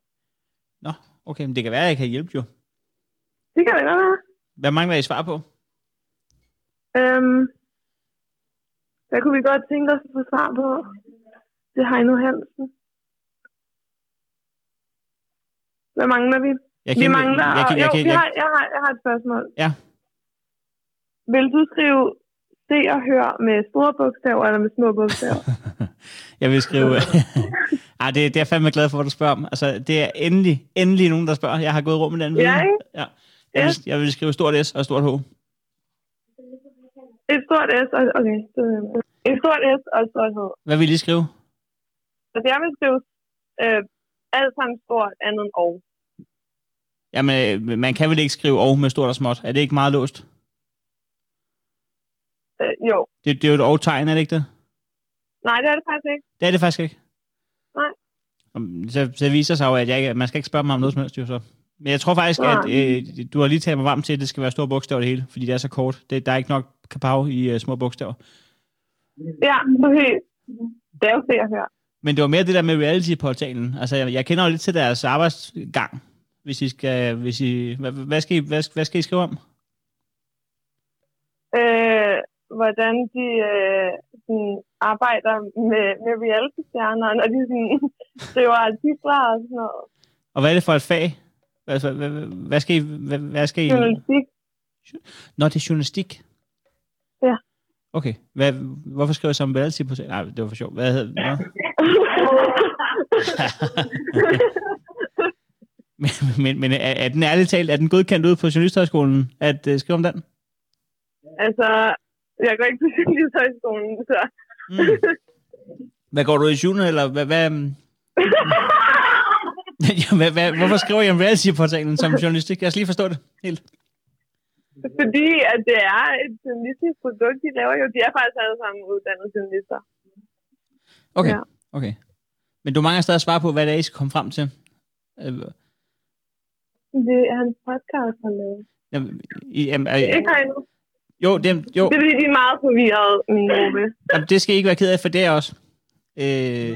S2: Nå, okay, men det kan være, at jeg kan hjælpe jo.
S1: Det kan det godt være.
S2: Hvad mangler I svar på?
S1: Øhm, hvad kunne vi godt tænke os at få svar på? Det har Heino Hansen. Hvad mangler vi?
S2: Jeg
S1: vi mangler...
S2: Jeg kan, jeg
S1: jo,
S2: kan,
S1: vi
S2: jeg,
S1: har, jeg, har, jeg har et spørgsmål.
S2: Ja.
S1: Vil du skrive se og hør med store bogstaver eller med små bogstaver?
S2: jeg vil skrive... Ej, det, det er jeg fandme glad for, at du spørger om. Altså, det er endelig, endelig nogen, der spørger. Jeg har gået rum med den
S1: ja,
S2: viden.
S1: ikke?
S2: Ja. Jeg, vil, jeg vil skrive stort S og stort H.
S1: Et stort S og... Okay. det- Et stort S og et stort H.
S2: Hvad vil I lige skrive?
S1: Altså, jeg vil skrive øh, alt sammen stort, andet end og.
S2: Jamen, øh, man kan vel ikke skrive og med stort og småt. Er det ikke meget låst?
S1: Øh, jo.
S2: Det, det er jo et og-tegn, er det ikke det?
S1: Nej, det er det faktisk ikke.
S2: Det er det faktisk ikke.
S1: Nej.
S2: Om- Så, så viser det sig jo, at jeg, ikke- man skal ikke spørge mig om noget som helst, jo så. Men jeg tror faktisk,
S1: Nej.
S2: at øh, du har lige talt mig varm til, at det skal være store bogstaver det hele, fordi det er så kort. Det, der er ikke nok kapav i øh, små bogstaver.
S1: Ja, okay. Det er jo se og hør.
S2: Men det var mere det der med reality-portalen. Altså, jeg, jeg kender jo lidt til deres arbejdsgang. Hvis I skal, hvis I, hvad, hvad, skal I, hvad, hvad skal I skrive om?
S1: øh, hvordan de øh, sådan, arbejder med, med reality-stjerner, når de sådan, skriver artikler og sådan noget.
S2: Og hvad er det for et fag? Altså, hvad, hvad, hvad skal I... Hvad, hvad skal I...
S1: Journalistik.
S2: Nå, det er journalistik.
S1: Ja.
S2: Okay. Hvad, hvorfor skriver jeg så om reality på Nej, det var for sjovt. Hvad hedder det? Men, men, men er, er, den ærligt talt, er den godkendt ud på Journalisthøjskolen at uh, skrive om den?
S1: altså, jeg går ikke på journalisthøjskolen, så...
S2: Mm. Hvad går du i syvende, eller hvad, hvad, Ja, hvad, hvad, hvorfor skriver jeg om reality-portalen som journalistik? Jeg skal lige forstå det helt.
S1: Fordi at det er et journalistisk produkt, de laver jo. De er faktisk alle sammen uddannede journalister.
S2: Okay,
S1: Ja.
S2: okay. Men du mangler stadig at svare på, hvad det er, I skal komme frem til. Øh,
S1: Det er hans podcast, han laver.
S2: Jamen, I- jamen, øh,
S1: Ikke endnu.
S2: jo, det, jo.
S1: Det er fordi, de er meget forvirrede, min gruppe.
S2: Jamen, det skal I ikke være ked af, for det er jeg også. Øh,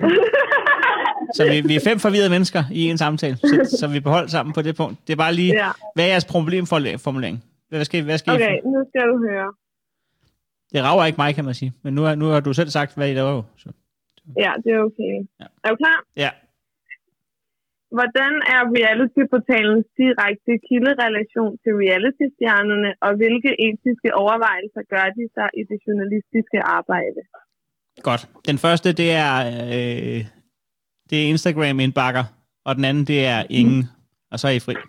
S2: så vi, vi er fem forvirrede mennesker i en samtale, så, så vi beholder sammen på det punkt. Det er bare lige,
S1: ja,
S2: hvad er jeres problemformulering? Hvad skal, I- hvad skal
S1: okay,
S2: okay.
S1: nu skal du høre.
S2: Det rager ikke mig, kan man sige. Men nu, er, nu har du selv sagt, hvad I laver. jo, Så.
S1: Ja, det er okay.
S2: Ja.
S1: Er du klar?
S2: Ja.
S1: Hvordan er reality-portalens direkte kilderelation til reality-stjernerne, og hvilke etiske overvejelser gør de sig i det journalistiske arbejde?
S2: Godt. Den første, det er, øh, det er Instagram indbakker, og den anden, det er ingen. Og så er I fri.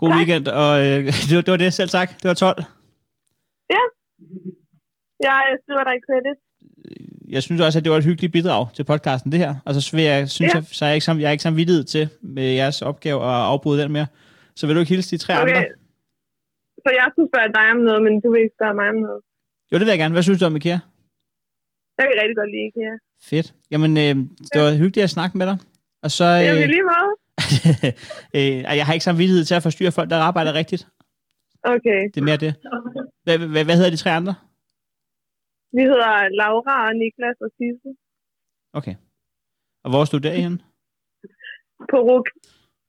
S2: God weekend, og øh, det, var, det var det. Selv tak. Det var
S1: gør
S2: 12.
S1: jeg. Jeg skriver dig credit.
S2: Jeg synes også, at det var et hyggeligt bidrag til podcasten, det her. Og så vil jeg, synes
S1: Ja.
S2: ja. jeg, så er jeg, ikke, sam- jeg er ikke samvittighed til med jeres opgave at afbryde den mere. Så vil du ikke hilse de tre okay. andre?
S1: Okay. Så jeg skulle spørge dig om noget, men du vil ikke spørge mig om noget.
S2: Jo, det vil jeg gerne. Hvad synes du om IKEA?
S1: Jeg kan rigtig godt lide IKEA.
S2: Fedt. Jamen, øh, det var hyggeligt at snakke med dig. Og så,
S1: Jeg
S2: øh,
S1: vil lige måde.
S2: øh, ej, jeg har ikke samvittighed til at forstyrre folk, der arbejder rigtigt.
S1: Okay.
S2: Det er mere det. Hvad, hvad, hvad hedder de tre andre?
S1: Vi hedder Laura og Niklas og Sisse
S2: Okay. Og hvor stod der henne?
S1: på RUK.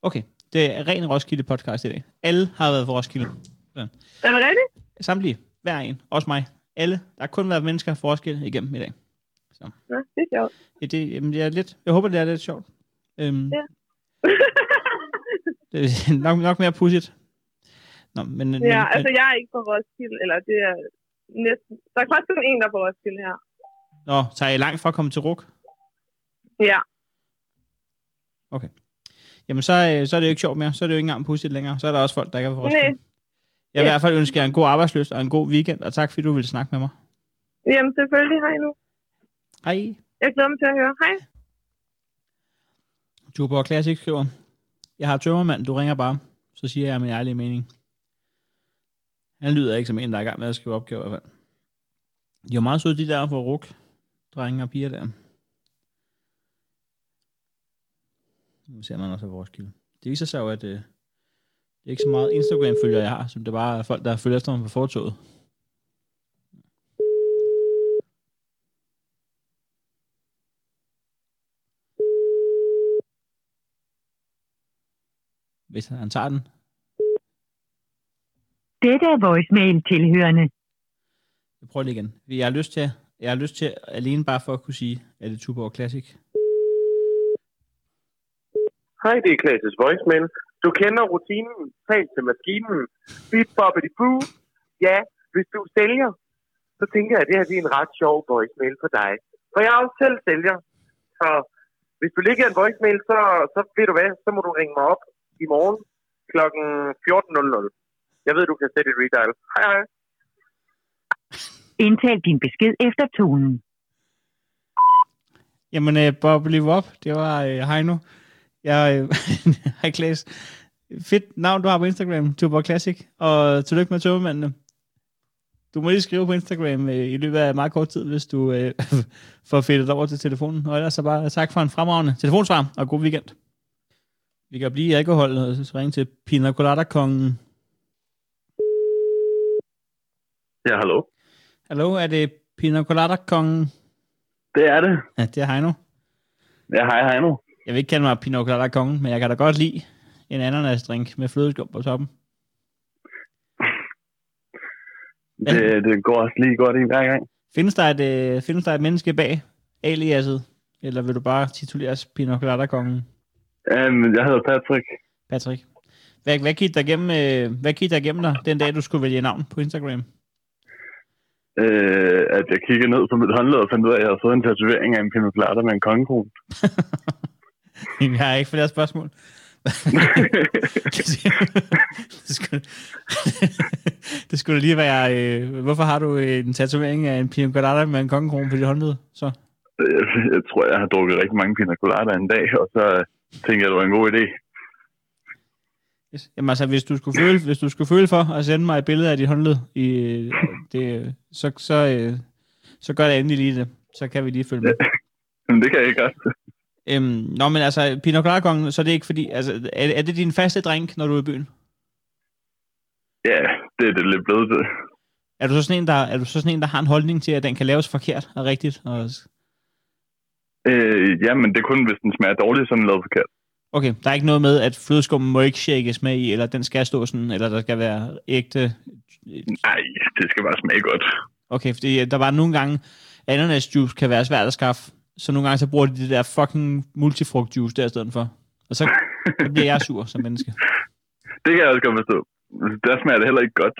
S2: Okay. Det er ren Roskilde podcast i dag. Alle har været for Roskilde.
S1: Er det rigtigt?
S2: Samtlige. Hver en. Også mig. Alle. Der har kun været mennesker for Roskilde igennem i dag.
S1: Nå, det er sjovt.
S2: Det, det, jamen, det er lidt, jeg håber, det er lidt sjovt. Øhm,
S1: Ja.
S2: det er nok, nok mere pudsigt. Nå, men, men-
S1: ja,
S2: men-
S1: altså jeg er ikke på Roskilde, eller det er næsten... Der er faktisk kun en, der er på Roskilde her.
S2: Nå, tager I langt for at komme til RUK?
S1: Ja.
S2: Jamen, så, øh, så er det jo ikke sjovt mere. Så er det jo ikke engang pudsigt længere. Så er der også folk, der ikke er fra Roskilde.
S1: Nej.
S2: Jeg vil
S1: Ja.
S2: i hvert fald ønske jer en god arbejdsløs og en god weekend, og tak fordi du ville snakke med mig.
S1: Jamen selvfølgelig, hej nu.
S2: Hej.
S1: Jeg glæder mig til at høre. Hej.
S2: Tuborg Classic skriver, jeg har tømmermand, du ringer bare, så siger jeg min ærlige mening. Han lyder ikke som en, der er i gang med at skrive opgaver i hvert fald. De var meget søde, de der for ruk, drenge og piger der. Nu ser man også af vores kilde. Det viser sig jo, at øh, det er ikke så meget Instagram-følgere, jeg har, som det bare er folk, der følger efter mig på fortoget. Hvis han tager den.
S3: Dette er voicemail tilhørende.
S2: Jeg prøver lige igen. Jeg har lyst til, jeg har lyst til alene bare for at kunne sige, at det er Tuborg Classic.
S5: Hej, det er Klases voicemail. Du kender rutinen. Tal til maskinen. Bip, bobbidi, boo. Ja, hvis du er sælger, så tænker jeg, at det her det er en ret sjov voicemail for dig. For jeg er også selv sælger. Så hvis du ligger en voicemail, så, så ved du hvad, så må du ringe mig op i morgen kl. 14.00. Jeg ved, du kan sætte et redial. Hej, hej.
S3: Indtal din besked efter tonen.
S2: Jamen, øh, Bob, live op. Det var øh, Heino. Jeg, øh, hej, Klaas. Fedt navn, du har på Instagram, Tuborg Classic. Og tillykke med tømmermændene. Du må lige skrive på Instagram øh, i løbet af meget kort tid, hvis du øh, får fedtet over til telefonen. Og ellers så bare tak for en fremragende telefonsvar, og god weekend. Vi kan blive i alkohol, og så ringe til Pina Colada-kongen.
S5: Ja, hallo.
S2: Hallo, er det Pina Colada-kongen?
S5: Det er det.
S2: Ja, det er Heino.
S5: Ja, hej, hej nu.
S2: Jeg vil ikke kalde mig Pinot Colada kongen, men jeg kan da godt lide en ananasdrink med flødeskum på toppen. Det-
S5: det går også lige godt en hver gang.
S2: Findes der et, øh, findes der et menneske bag aliaset, eller vil du bare tituleres Pinot Colada kongen,
S5: Um, jeg hedder Patrick.
S2: Patrick? Hvad, hvad gik der igennem, øh, hvad gik der igennem dig den dag, du skulle vælge navn på Instagram?
S5: øh, at jeg kiggede ned på mit håndled og fandt ud af, at jeg havde fået en tatovering af en Pino Colada med en kongekron.
S2: Jeg har ikke flere spørgsmål. det, skulle, det skulle lige være, øh, hvorfor har du en tatovering af en Pinot Colada med en kongekrone på dit håndled? Så?
S5: Øh, jeg tror, jeg har drukket rigtig mange Pina Colada en dag, og så øh, tænkte jeg, at det var en god idé.
S2: Yes. Jamen altså, hvis du skulle føle, hvis du skulle føle for at sende mig et billede af dit håndled, i, øh, det, øh, så, så, øh, så gør det endelig lige det. Så kan vi lige følge med.
S5: Men det kan jeg godt.
S2: Øhm, nå, men altså, Pinot Colada-kongen, så er det ikke fordi... Altså, er, er det din faste drink, når du er i byen?
S5: Ja, det er det lidt blevet til.
S2: Er du så sådan en, der, er du så sådan en, der har en holdning til, at den kan laves forkert og rigtigt? Og,
S5: Øh, ja, men det er kun, hvis den smager dårligt, så er den lavet forkert.
S2: okay, der er ikke noget med, at flødeskummen må ikke shakes med i, eller den skal stå sådan, eller der skal være ægte
S5: Nej, det skal bare smage godt.
S2: Okay, fordi øh, der var nogle gange, ananasjuice kan være svært at skaffe, så nogle gange så bruger de det der fucking multifrugtjuice der i stedet for. Og så, så bliver jeg sur som menneske.
S5: Det kan jeg også godt forstå. Der smager det heller ikke godt.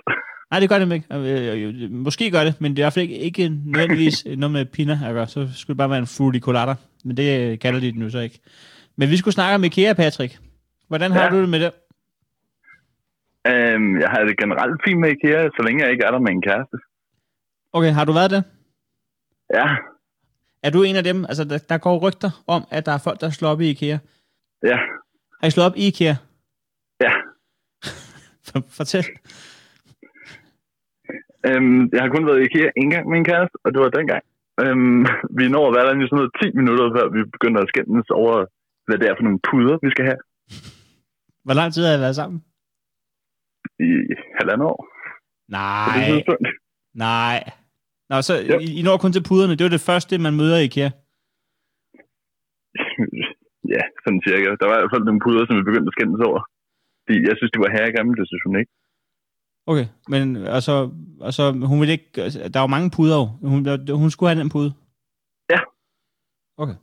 S2: Nej, det gør det ikke. Øh, øh, øh, Måske gør det, men det er i hvert fald ikke, ikke nødvendigvis noget med pina at gøre. Så skulle det bare være en fruity colada. Men det øh, kalder de den jo så ikke. Men vi skulle snakke om IKEA, Patrick. Hvordan har
S5: Ja.
S2: ja. du det med det?
S5: Øhm, jeg har det generelt fint med IKEA, så længe jeg ikke er der med en kæreste.
S2: Okay, har du været det?
S4: Ja,
S2: Er du en af dem? Altså, der, der går rygter om, at der er folk, der slår op i IKEA.
S4: ja,
S2: Har I slået op i IKEA?
S4: ja.
S2: For- Fortæl.
S4: Øhm, jeg har kun været i IKEA en gang med en kæreste, og det var dengang. Øhm, vi når at være der i sådan noget 10 minutter, før vi begynder at skændes over, hvad det er for nogle puder, vi skal have
S2: Hvor lang tid har I været sammen?
S4: i halvandet år. På det
S2: Nej,
S4: tidspunkt.
S2: nej. Nå, så
S4: Jo.
S2: I, I når kun til puderne. Det var det første, man møder i IKEA.
S4: ja, sådan cirka. Der var i hvert fald nogle puder, som vi begyndte at skændes over. De, jeg synes, de var herre gamle, det synes hun ikke.
S2: Okay, men og så, og så hun ville ikke, altså, der var mange puder jo. Hun, der- hun skulle have den pude.
S4: Ja.
S2: Okay.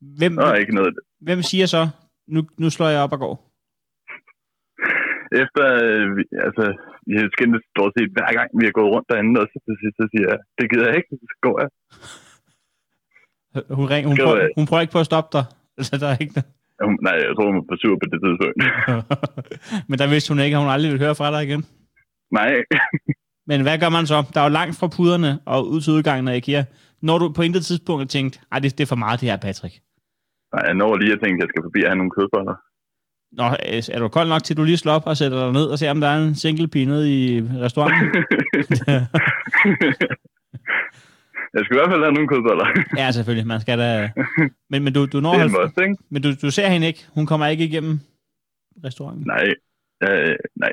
S2: Hvem,
S4: Der var ikke noget.
S2: hvem siger så, nu, nu slår jeg op og går?
S4: Efter, øh, vi- altså, vi har skændtes stort set hver gang, vi har gået rundt derinde, og så til sidst, så siger jeg, det gider jeg ikke, så går jeg.
S2: Hun, ring, hun,
S4: Skal
S2: prøver,
S4: jeg-
S2: hun prøver ikke på at stoppe dig. Altså, der er ikke noget.
S4: Og Hun, nej, jeg tror, hun var for sur på det tidspunkt.
S2: men der vidste hun ikke, at hun aldrig ville høre fra dig igen.
S4: nej,
S2: Men hvad gør man så? Der er jo langt fra puderne og ud til udgangen af IKEA. Når du på intet tidspunkt har tænkt, ej, det, det er for meget det her, Patrick.
S4: nej, jeg når lige at tænke, at jeg skal forbi og have nogle kødboller.
S2: Nå, øh, er du kold nok til, at du lige slår op og sætter dig ned og ser, om der er en single pige nede i restauranten?
S4: jeg skal i hvert fald have nogle kødboller.
S2: Ja, selvfølgelig. Man skal da... Men, men du, du når...
S4: det er en
S2: halv-
S4: must, ikke?
S2: Men du, du ser hende ikke. Hun kommer ikke igennem restauranten.
S4: Nej, øh, nej.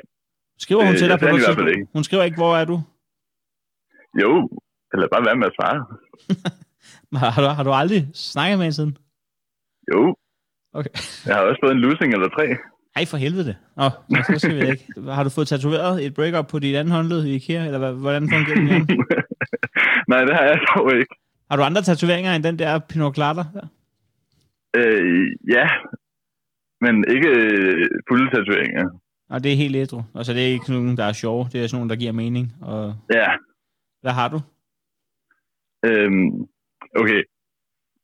S2: Skriver hun
S4: Øh,
S2: til dig
S4: jeg
S2: på
S4: ser
S2: noget
S4: hende i hvert fald
S2: tidspunkt? Hun skriver ikke, hvor er du?
S4: Jo, eller bare være med at svare.
S2: Har du, har du aldrig snakket med hende siden?
S4: Jo,
S2: Okay.
S4: jeg har også fået en losing eller tre.
S2: Ej, for helvede. Nå, nå så skal vi da ikke. Har du fået tatoveret et breakup på dit andet håndled i IKEA? Eller hvad- hvordan fungerer det? igen?
S4: Nej, det har jeg dog ikke.
S2: Har du andre tatoveringer end den der Pinot Clatter? der?
S4: Øh, ja, men ikke øh, fulde tatoveringer.
S2: Og det er helt ædru. Altså, det er ikke nogen, der er sjove. Det er sådan nogen, der giver mening. Og
S4: Ja,
S2: hvad har du?
S4: øhm, okay.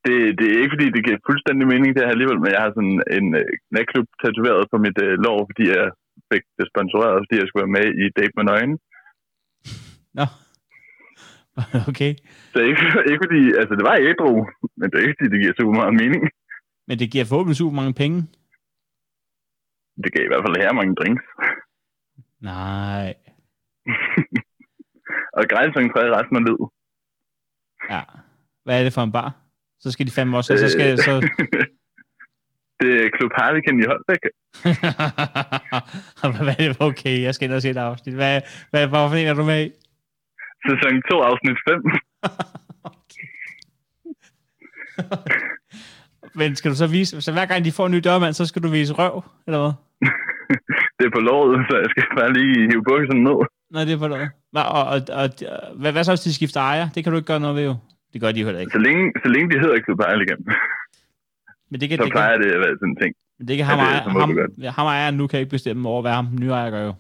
S4: Det, det er ikke, fordi det giver fuldstændig mening til her alligevel, men jeg har sådan en øh, natklub tatoveret på mit øh, lår, fordi jeg fik det sponsoreret, fordi jeg skulle være med i Date med Nøgen.
S2: Nå. Okay.
S4: Så ikke, ikke fordi, altså det var ædru, men det er ikke fordi, det giver super meget mening.
S2: Men det giver forhåbentlig super mange penge.
S4: Det gav i hvert fald her mange drinks.
S2: Nej.
S4: Og grænsning træder resten af lyd.
S2: Ja. Hvad er det for en bar? Så skal de fandme også, så skal så...
S4: det er Klub Harviken i Holbæk.
S2: Øh. Hvad er det? Okay, jeg skal ind og se et afsnit. Hvad, hvad, hvorfor en er du med i?
S4: Sæson 2, afsnit 5.
S2: Men skal du så vise... Så hver gang de får en ny dørmand, så skal du vise røv, eller hvad?
S4: det er på låret, så jeg skal bare lige hive bukserne ned.
S2: Nej, det er på noget. Nå, Og, og, og, hvad, hvad så, hvis de skifter ejer? Det kan du ikke gøre noget ved, jo. Det gør de jo heller ikke.
S4: Så længe, så længe de hedder Klub Harviken,
S2: Men det kan,
S4: så
S2: det kan,
S4: plejer det at være sådan en ting.
S2: men det kan
S4: ja,
S2: ham,
S4: det er
S2: ejer,
S4: så må
S2: ham,
S4: du
S2: ham ejeren nu kan ikke bestemme over, hvad ham den nye ejer gør, jo.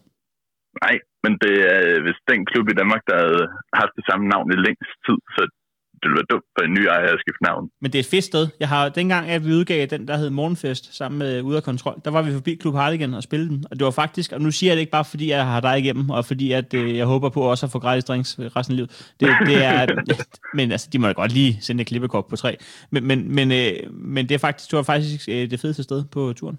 S4: Nej, men det er øh, hvis den klub i Danmark, der havde haft det samme navn i længst tid, så det ville være dumt for en ny ejer at skifte navn.
S2: Men det er et fedt sted. Jeg har, dengang at vi udgav den, der hed Morgenfest, sammen med Ude af Kontrol, der var vi forbi Klub Hardigan og spillede den. Og det var faktisk, og nu siger jeg det ikke bare, fordi jeg har dig igennem, og fordi at, øh, jeg håber på også at få gratis drinks resten af livet. Det, det er, men altså, de må da godt lige sende et klippekort på tre. Men, men, men, øh, men det, er faktisk, det var faktisk øh, det fedeste sted på turen.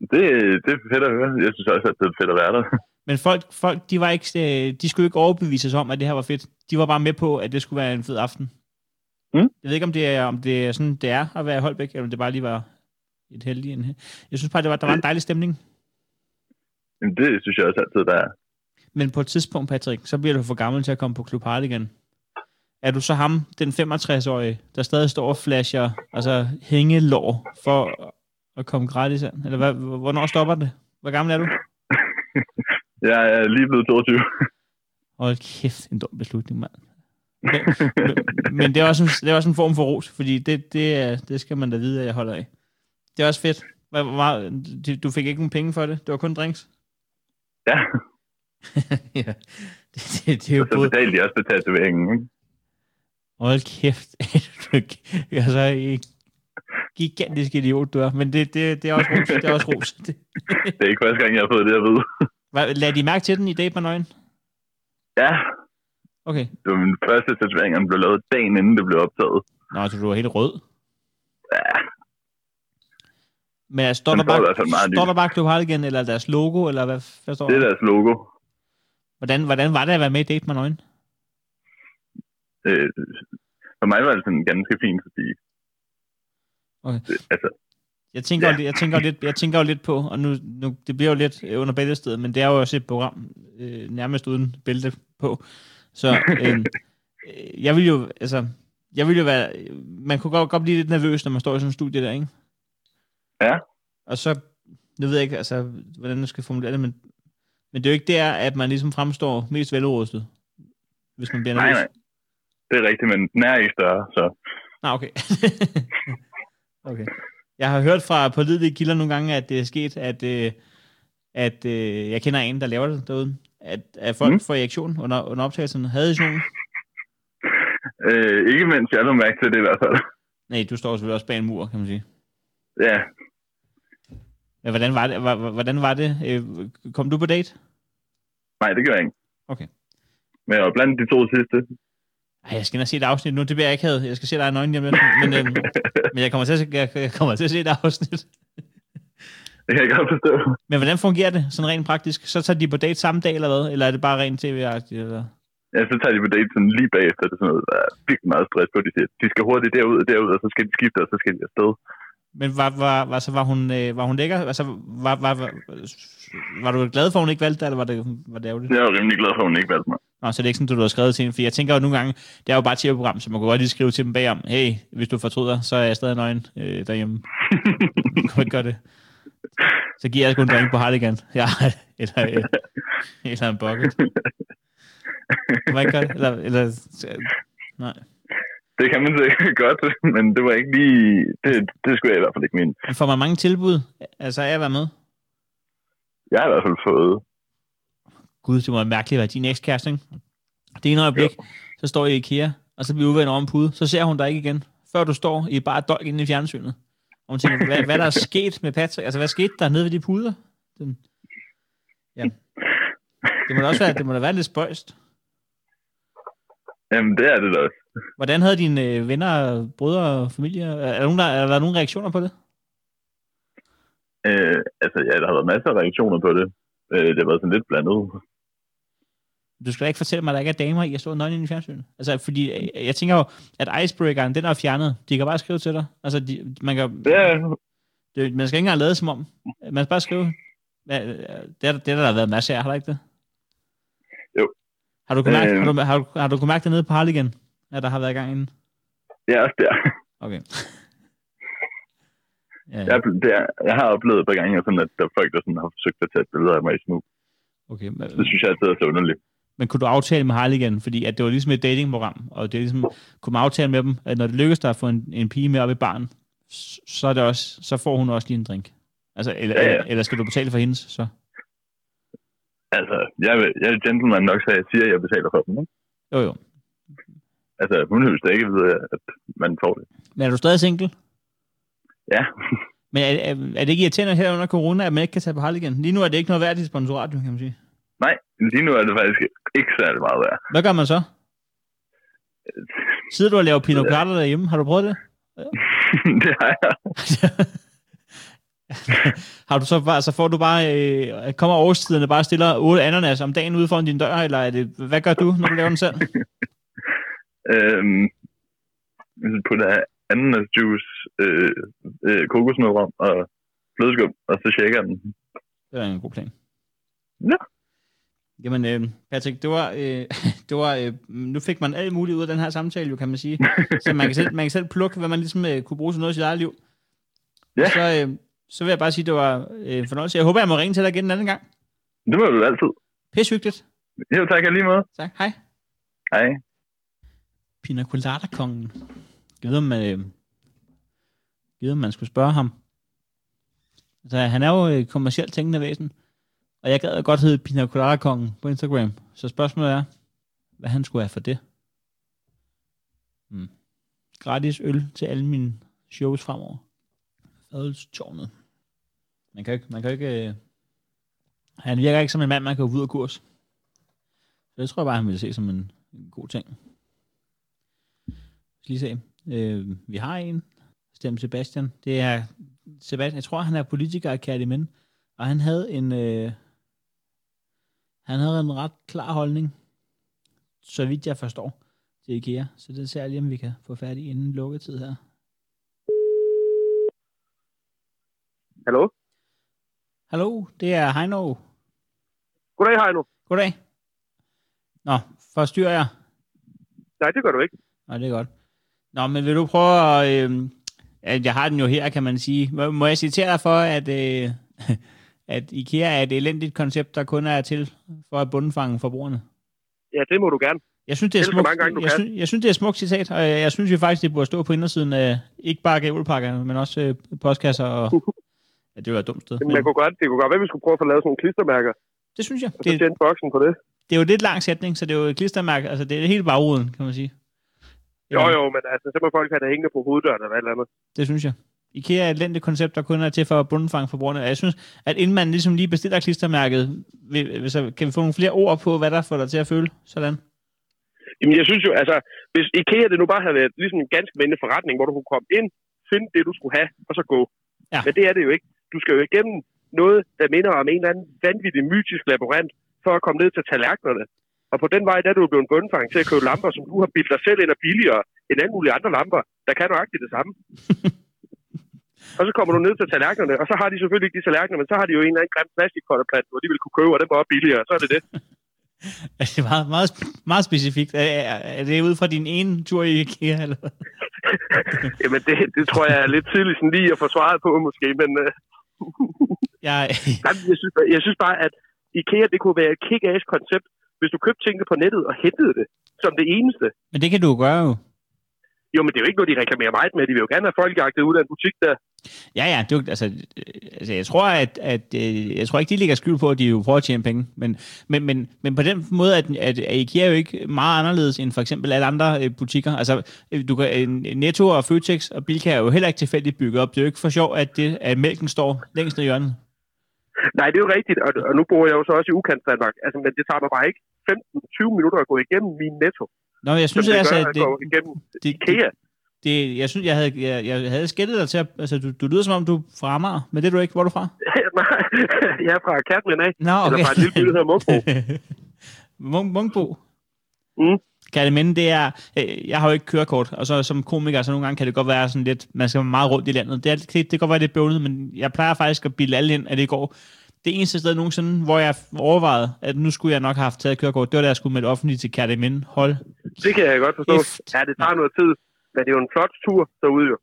S4: Det, det er fedt at høre. Jeg synes også, at det er fedt at være der.
S2: Men folk, folk de, var ikke, øh, de skulle ikke overbevises om, at det her var fedt. De var bare med på, at det skulle være en fed aften.
S4: Mm.
S2: Jeg ved ikke, om det er, om det er sådan, det er at være i Holbæk, eller om det bare lige var et heldigt. En... Jeg synes bare, det var, der var en dejlig stemning.
S4: Jamen, det synes jeg også altid, der er.
S2: Men på et tidspunkt, Patrick, så bliver du for gammel til at komme på Klub Hardigan. Er du så ham, den 65-årige, der stadig står og flasher, altså hængelår, for at komme gratis an? Eller hvad, hvornår stopper det? Hvor gammel er du?
S4: Jeg er lige blevet 22.
S2: Hold kæft, en dum beslutning, mand. Men, men- men det, er også en, det er også en form for ros, fordi det, det, er, det skal man da vide, at jeg holder af. Det er også fedt. Hvad, hvor meget, du- du fik ikke nogen penge for det? Det var kun drinks?
S4: Ja,
S2: ja. Det, det, det er jo
S4: og så
S2: både...
S4: betalte jeg også på tatoveringen. ikke?
S2: Hold kæft. altså, en gigantisk idiot, du er. Men det, det, det er også ros. Det er også ros. Det,
S4: Det er ikke første gang, jeg har fået det at vide.
S2: hvad, lad de mærke til den i dag på nøgen?
S4: Ja,
S2: Okay.
S4: Den første tatovering, han blev lavet dagen inden det blev optaget.
S2: Nå, så du var helt rød.
S4: Ja,
S2: Men altså, står,
S4: Den
S2: der
S4: står i
S2: bare,
S4: hvert fald meget
S2: står
S4: lille.
S2: der bare Club Harligan, eller deres logo, eller hvad, hvad står
S4: det er
S2: der?
S4: deres logo.
S2: Hvordan, hvordan var det at være med i Date med Nøgen?
S4: Øh, for mig var det sådan ganske fint, fordi
S2: Okay.
S4: det, altså,
S2: Jeg tænker,
S4: Ja.
S2: ja. jeg, tænker jo lidt, jeg tænker jo lidt på, og nu, nu det bliver jo lidt øh, under bæltestedet, men det er jo også et program øh, nærmest uden bælte på. Så øh, øh, jeg vil jo, altså, jeg vil jo være, øh, man kunne godt, godt blive lidt nervøs, når man står i sådan en studie der, ikke?
S4: Ja.
S2: Og så, nu ved jeg ikke, altså, hvordan jeg skal formulere det, men, men det er jo ikke der, at man ligesom fremstår mest velrustet, hvis man bliver
S4: nej,
S2: nervøs.
S4: nej. Det er rigtigt, men den er ikke større, så
S2: Nej, okay. okay. Jeg har hørt fra pålidelige kilder nogle gange, at det er sket, at, øh, at øh, jeg kender en, der laver det derude, at, at folk
S4: Mm.
S2: mm. får erektion under, under optagelsen. Havde I sådan nogen?
S4: øh, ikke mens jeg lå mærke til det i hvert fald.
S2: Nej, du står selvfølgelig også bag en mur, kan man sige.
S4: Ja,
S2: Men hvordan var det? hva- hva- Hvordan var det? Øh, Kom du på date?
S4: nej, det gør jeg ikke.
S2: Okay.
S4: Men jeg var blandt de to sidste.
S2: Ej, jeg skal ind og se et afsnit nu. Det bliver jeg ikke havde. Jeg skal se dig i nøgen hjem. Men, øh, men jeg, kommer til at, jeg, jeg kommer til at se et afsnit.
S4: Det kan jeg godt forstå.
S2: Men hvordan fungerer det sådan rent praktisk? Så tager de på date samme dag eller hvad? Eller er det bare rent tv-agtigt? Eller?
S4: Ja, så tager de på date sådan lige bagefter. Det er sådan noget, der er virkelig meget stress på. De siger, de skal hurtigt derud og derud, og så skal de skifte, og så skal de afsted.
S2: Men var, var, var, så var hun, øh, var hun lækker? Altså, var, var, var, var du glad for, at hun ikke valgte dig, eller var det, var det ærgerligt? Ja.
S4: Jeg er jo rimelig glad for, at hun ikke valgte mig.
S2: Nå, så er det ikke sådan, du har skrevet til hende, for jeg tænker jo nogle gange, det er jo bare et tv-program, så man kunne godt lige skrive til dem bagom, hey, hvis du fortryder, så er jeg stadig nøgen øh, derhjemme. Du kan ikke gøre det. Så giver jeg sgu en drink på Harligan. Ja, eller, øh, eller en bucket. Kan man ikke gøre det? Eller, eller, nej.
S4: Det kan man sikkert godt, men det var ikke lige... Det, det skulle jeg i hvert fald ikke mene.
S2: Men får man mange tilbud? Altså, er jeg været med?
S4: Jeg har i hvert fald fået...
S2: Gud, det må være mærkeligt at være din ekskæreste, ikke? Det ene øjeblik, så står I i IKEA, og så bliver I uvenner over en pude. Så ser hun dig ikke igen, før du står i bare dolk inde i fjernsynet. Og hun tænker, hvad, hvad der er sket med Patrick? Altså, hvad skete der nede ved de puder? Den... Ja. Det må da også være, det må da være lidt spøjst.
S4: Jamen, det er det da også.
S2: Hvordan havde dine øh, venner, brødre og familie, er, er, der nogen, der, er der nogen reaktioner på det?
S4: Øh, altså, ja, der har været masser af reaktioner på det. Øh, det har været sådan lidt blandet.
S2: Du skal da ikke fortælle mig, at der ikke er damer i at stå nøgen inde i fjernsynet. Altså, fordi øh, jeg tænker jo, at icebreakeren, den er fjernet. De kan bare skrive til dig. Altså, de, man kan,
S4: Ja,
S2: Det, man skal ikke engang lade som om. Man skal bare skrive. Ja, Det er, det er der, der har været masser af, har der ikke det?
S4: Jo.
S2: Har du kunnet mærke,
S4: Øh.
S2: har du, har, du- har du kunnet mærke det nede på Harligan, at der har været gang inden?
S4: det er også der.
S2: Okay. ja,
S4: Jeg, er ble- det er, jeg har oplevet et par gange, sådan, at der er folk, der sådan, har forsøgt at tage et billede af mig i snu.
S2: okay.
S4: Det
S2: Men,
S4: synes jeg altid er så underligt.
S2: men kunne du aftale med Harligan, fordi at det var ligesom et datingprogram, og det er ligesom, kunne man aftale med dem, at når det lykkes dig at få en, en pige med op i baren, s- så, er det også, så får hun også lige en drink. Altså, eller,
S4: Ja, ja.
S2: eller, eller skal du betale for hendes, så?
S4: Altså, jeg, vil- jeg er gentleman nok, så jeg siger, at jeg betaler for dem. Ikke?
S2: Jo, jo.
S4: Altså, hun vil da ikke vide, at man får det.
S2: Men er du stadig single?
S4: Ja,
S2: Men er, er, er det ikke irriterende her under corona, at man ikke kan tage på Harligan? Lige nu er det ikke noget værd i sponsorat, kan man sige.
S4: nej, lige nu er det faktisk ikke særlig meget værd.
S2: Hvad gør man så? Sidder du og laver pinot colada derhjemme? Har du prøvet det?
S4: det har jeg.
S2: Har du så bare, så får du bare, øh, kommer årstiderne bare stiller otte ananas om dagen ude foran din dør, eller er det, hvad gør du, når du laver den selv?
S4: Øhm, så putter jeg ananasjuice, øh, øh, kokosnødrom og flødeskum, og så shaker jeg den.
S2: Det er en god plan.
S4: Ja.
S2: Jamen, øh, Patrick, det var, øh, det var øh, nu fik man alt muligt ud af den her samtale, jo, kan man sige. Så man kan selv, man kan selv plukke, hvad man ligesom øh, kunne bruge til noget i sit eget liv.
S4: Ja.
S2: Så, øh, så vil jeg bare sige, det var øh, en fornøjelse. Jeg håber, jeg må ringe til dig igen en anden gang.
S4: Det må du altid.
S2: Pisse hyggeligt.
S4: Jo, tak og lige måde.
S2: Tak. Hej.
S4: Hej.
S2: Pina Colada-kongen. Jeg ved, om man, øh, jeg ved, om man skulle spørge ham. Altså, han er jo øh, kommercielt tænkende væsen. Og jeg gad jo godt hedde Pina Colada-kongen på Instagram. Så spørgsmålet er, hvad han skulle have for det. Mm. Gratis øl til alle mine shows fremover. Fadelstårnet. Man kan jo ikke... Man kan jo ikke øh, han virker ikke som en mand, man kan gå ud af kurs. Så det tror jeg bare, han ville se som en, en god ting. Jeg skal lige se. Øh, vi har en. Stem Sebastian. Det er Sebastian. Jeg tror, han er politiker af Kærlig Og han havde en... Øh, han havde en ret klar holdning, så vidt jeg forstår, til IKEA. Så det ser jeg lige, om vi kan få færdig inden lukketid her.
S5: Hallo?
S2: Hallo, det er Heino.
S5: Goddag, Heino.
S2: Goddag. Nå, forstyrrer jeg?
S5: Nej, det gør du ikke.
S2: Nå, det er godt. Nå, men vil du prøve at... Øh, at jeg har den jo her, kan man sige. Må, må jeg citere dig for, at, øh, at IKEA er et elendigt koncept, der kun er til for at bundfange forbrugerne?
S5: Ja, det må du gerne.
S2: Jeg synes, det er
S5: Ellers, hvor
S2: smukt.
S5: mange gange du
S2: jeg,
S5: kan.
S2: synes, jeg synes, det er et smukt citat, og jeg, jeg synes jo faktisk, det burde stå på indersiden af ikke bare gavlepakkerne, men også øh, postkasser og... Ja, det var et dumt sted.
S5: Men man
S2: Men,
S5: kunne godt, det kunne godt være, at vi skulle prøve at få lavet sådan nogle klistermærker,
S2: det synes jeg.
S5: og så
S2: Det,
S5: tjene boksen på det.
S2: det er jo lidt lang sætning, så det er jo et klistermærke. Altså, det er hele bagruden, kan man sige.
S5: Jo, jo, men altså, så må folk have det hængende på hoveddøren eller et eller andet.
S2: Det synes jeg. IKEA er et lente koncept, der kun er til for at bundfange forbrugerne. Og Jeg synes, at inden man ligesom lige bestiller klistermærket, vil- vil- så kan vi få nogle flere ord på, hvad der får dig til at føle sådan.
S5: Jamen, jeg synes jo, altså, hvis IKEA det nu bare havde været ligesom en ganske mindre forretning, hvor du kunne komme ind, finde det, du skulle have, og så gå.
S2: Ja.
S5: Men det er det jo ikke. Du skal jo igennem noget, der minder om en eller anden vanvittig mytisk laborant, for at komme ned til tallerkenerne. Og på den vej, der er du jo blevet bundfanget til at købe lamper, som du har bildt dig selv ind og billigere end alle mulige andre lamper, der kan nøjagtigt det samme. og så kommer du ned til tallerkenerne, og så har de selvfølgelig ikke de tallerkener, men så har de jo en eller anden grim plastikkotterplant, hvor de vil kunne købe, og den var også billigere, og så er det det.
S2: Altså, det er meget, meget, meget specifikt. Er, er, er det ud fra din ene tur i IKEA? Eller? hvad?
S5: Jamen, det, det tror jeg er lidt tidligt sådan lige at få svaret på, måske. Men øh,
S2: Jeg,
S5: nej, jeg, synes, bare- jeg synes bare, at IKEA, det kunne være et kick-ass-koncept, hvis du købte tingene på nettet og hentede det som det eneste.
S2: men det kan du jo gøre jo.
S5: Jo, men det er jo ikke noget, de reklamerer meget med. De vil jo gerne have folk jagtet ud af en butik der.
S2: Ja, ja, det er jo, altså, øh, altså, jeg tror, at, at øh, jeg tror ikke, de ligger skyld på, at de jo prøver at tjene penge, men, men, men, men på den måde, at, at, at IKEA er jo ikke meget anderledes end for eksempel alle andre øh, butikker. Altså, øh, du kan, øh, Netto og Føtex og Bilka er jo heller ikke tilfældigt bygget op. Det er jo ikke for sjov, at, det, at mælken står længst ned i hjørnet.
S5: Nej, det er jo rigtigt, og, og nu bor jeg jo så også i udkants Danmark. Altså, men det tager mig bare ikke 15-20 minutter at gå igennem min netto.
S2: Nå, jeg synes
S5: som det
S2: altså, at
S5: gør, at
S2: det,
S5: gå igennem
S2: det, det,
S5: IKEA.
S2: det, jeg synes, jeg havde, jeg, jeg havde skættet dig til at, altså, du, du lyder som om, du er fra Amager, men det er du ikke. Hvor er du fra?
S5: Nej, jeg er fra Kærtlen af,
S2: Nå,
S5: eller fra en lille by, der hedder Munkbo.
S2: Munk, Munkbo.
S5: Mm.
S2: Kan det minde, det er, øh, jeg har jo ikke kørekort, og så som komiker, så nogle gange kan det godt være sådan lidt, man skal meget rundt i landet. Det, er, det, det kan godt være lidt bøvlet, men jeg plejer faktisk at bilde alle ind, at det går. Det eneste sted nogensinde, hvor jeg overvejede, at nu skulle jeg nok have haft taget kørekort, det var da jeg skulle med det offentlige til Kærteminde. Hold.
S5: Det kan jeg godt forstå.
S2: Gift.
S5: Ja, det tager noget tid, men det er jo en flot tur derude jo.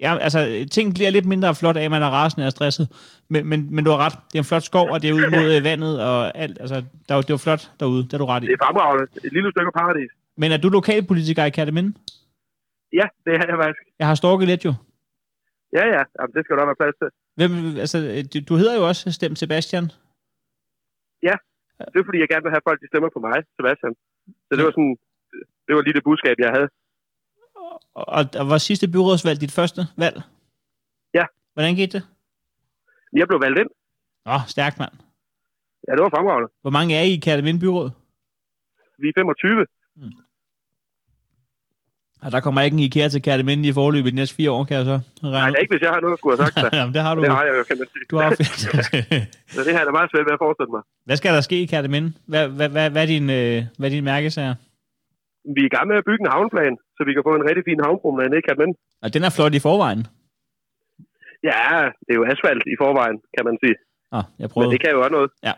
S2: Ja, altså, ting bliver lidt mindre flot af, at man er rasende og stresset. Men, men, men du har ret. Det er en flot skov, og det er ud mod øh, vandet og alt. Altså, der, er jo- det er jo flot derude. Det har du ret i.
S5: Det er fremragende. Et lille stykke paradis.
S2: Men er du lokalpolitiker i Kærteminde?
S5: Ja, det er jeg faktisk.
S2: Jeg har stalket lidt jo.
S5: Ja, ja. Jamen, det skal der være plads til.
S2: Hvem, altså, øh, du- du hedder jo også Stem Sebastian.
S5: Det er, fordi jeg gerne vil have folk, de stemmer på mig, Sebastian. Så det var sådan... Det var lige det budskab, jeg havde.
S2: Og, og, og var sidste byrådsvalg dit første valg?
S5: Ja.
S2: Hvordan gik det?
S5: Jeg blev valgt ind.
S2: Nå, stærkt mand.
S5: Ja, det var fremragende.
S2: Hvor mange er I i Kærteminde Byråd?
S5: Vi er 25.
S2: Og der kommer ikke en IKEA til Kærteminde i forløbet de næste fire år, kan jeg så regne
S5: Nej, det er Altså, ikke, hvis jeg har noget, jeg skulle have sagt dig.
S2: Jamen, det har du.
S5: Det har jeg jo, kan man sige.
S2: Du har
S5: Så det her er da meget svært ved at forestille mig.
S2: Hvad skal der ske i Kærteminde? Hvad, hvad, hvad, hvad, er din, øh, hvad er din mærkesager?
S5: Vi er i gang med at bygge en havnplan, så vi kan få en rigtig fin havnpromenade ned, kan man.
S2: Og den er flot i forvejen.
S5: Ja, det er jo asfalt i forvejen, kan man sige.
S2: Nå, jeg
S5: Men
S2: prøvede.
S5: det kan jo også noget.
S2: Ja.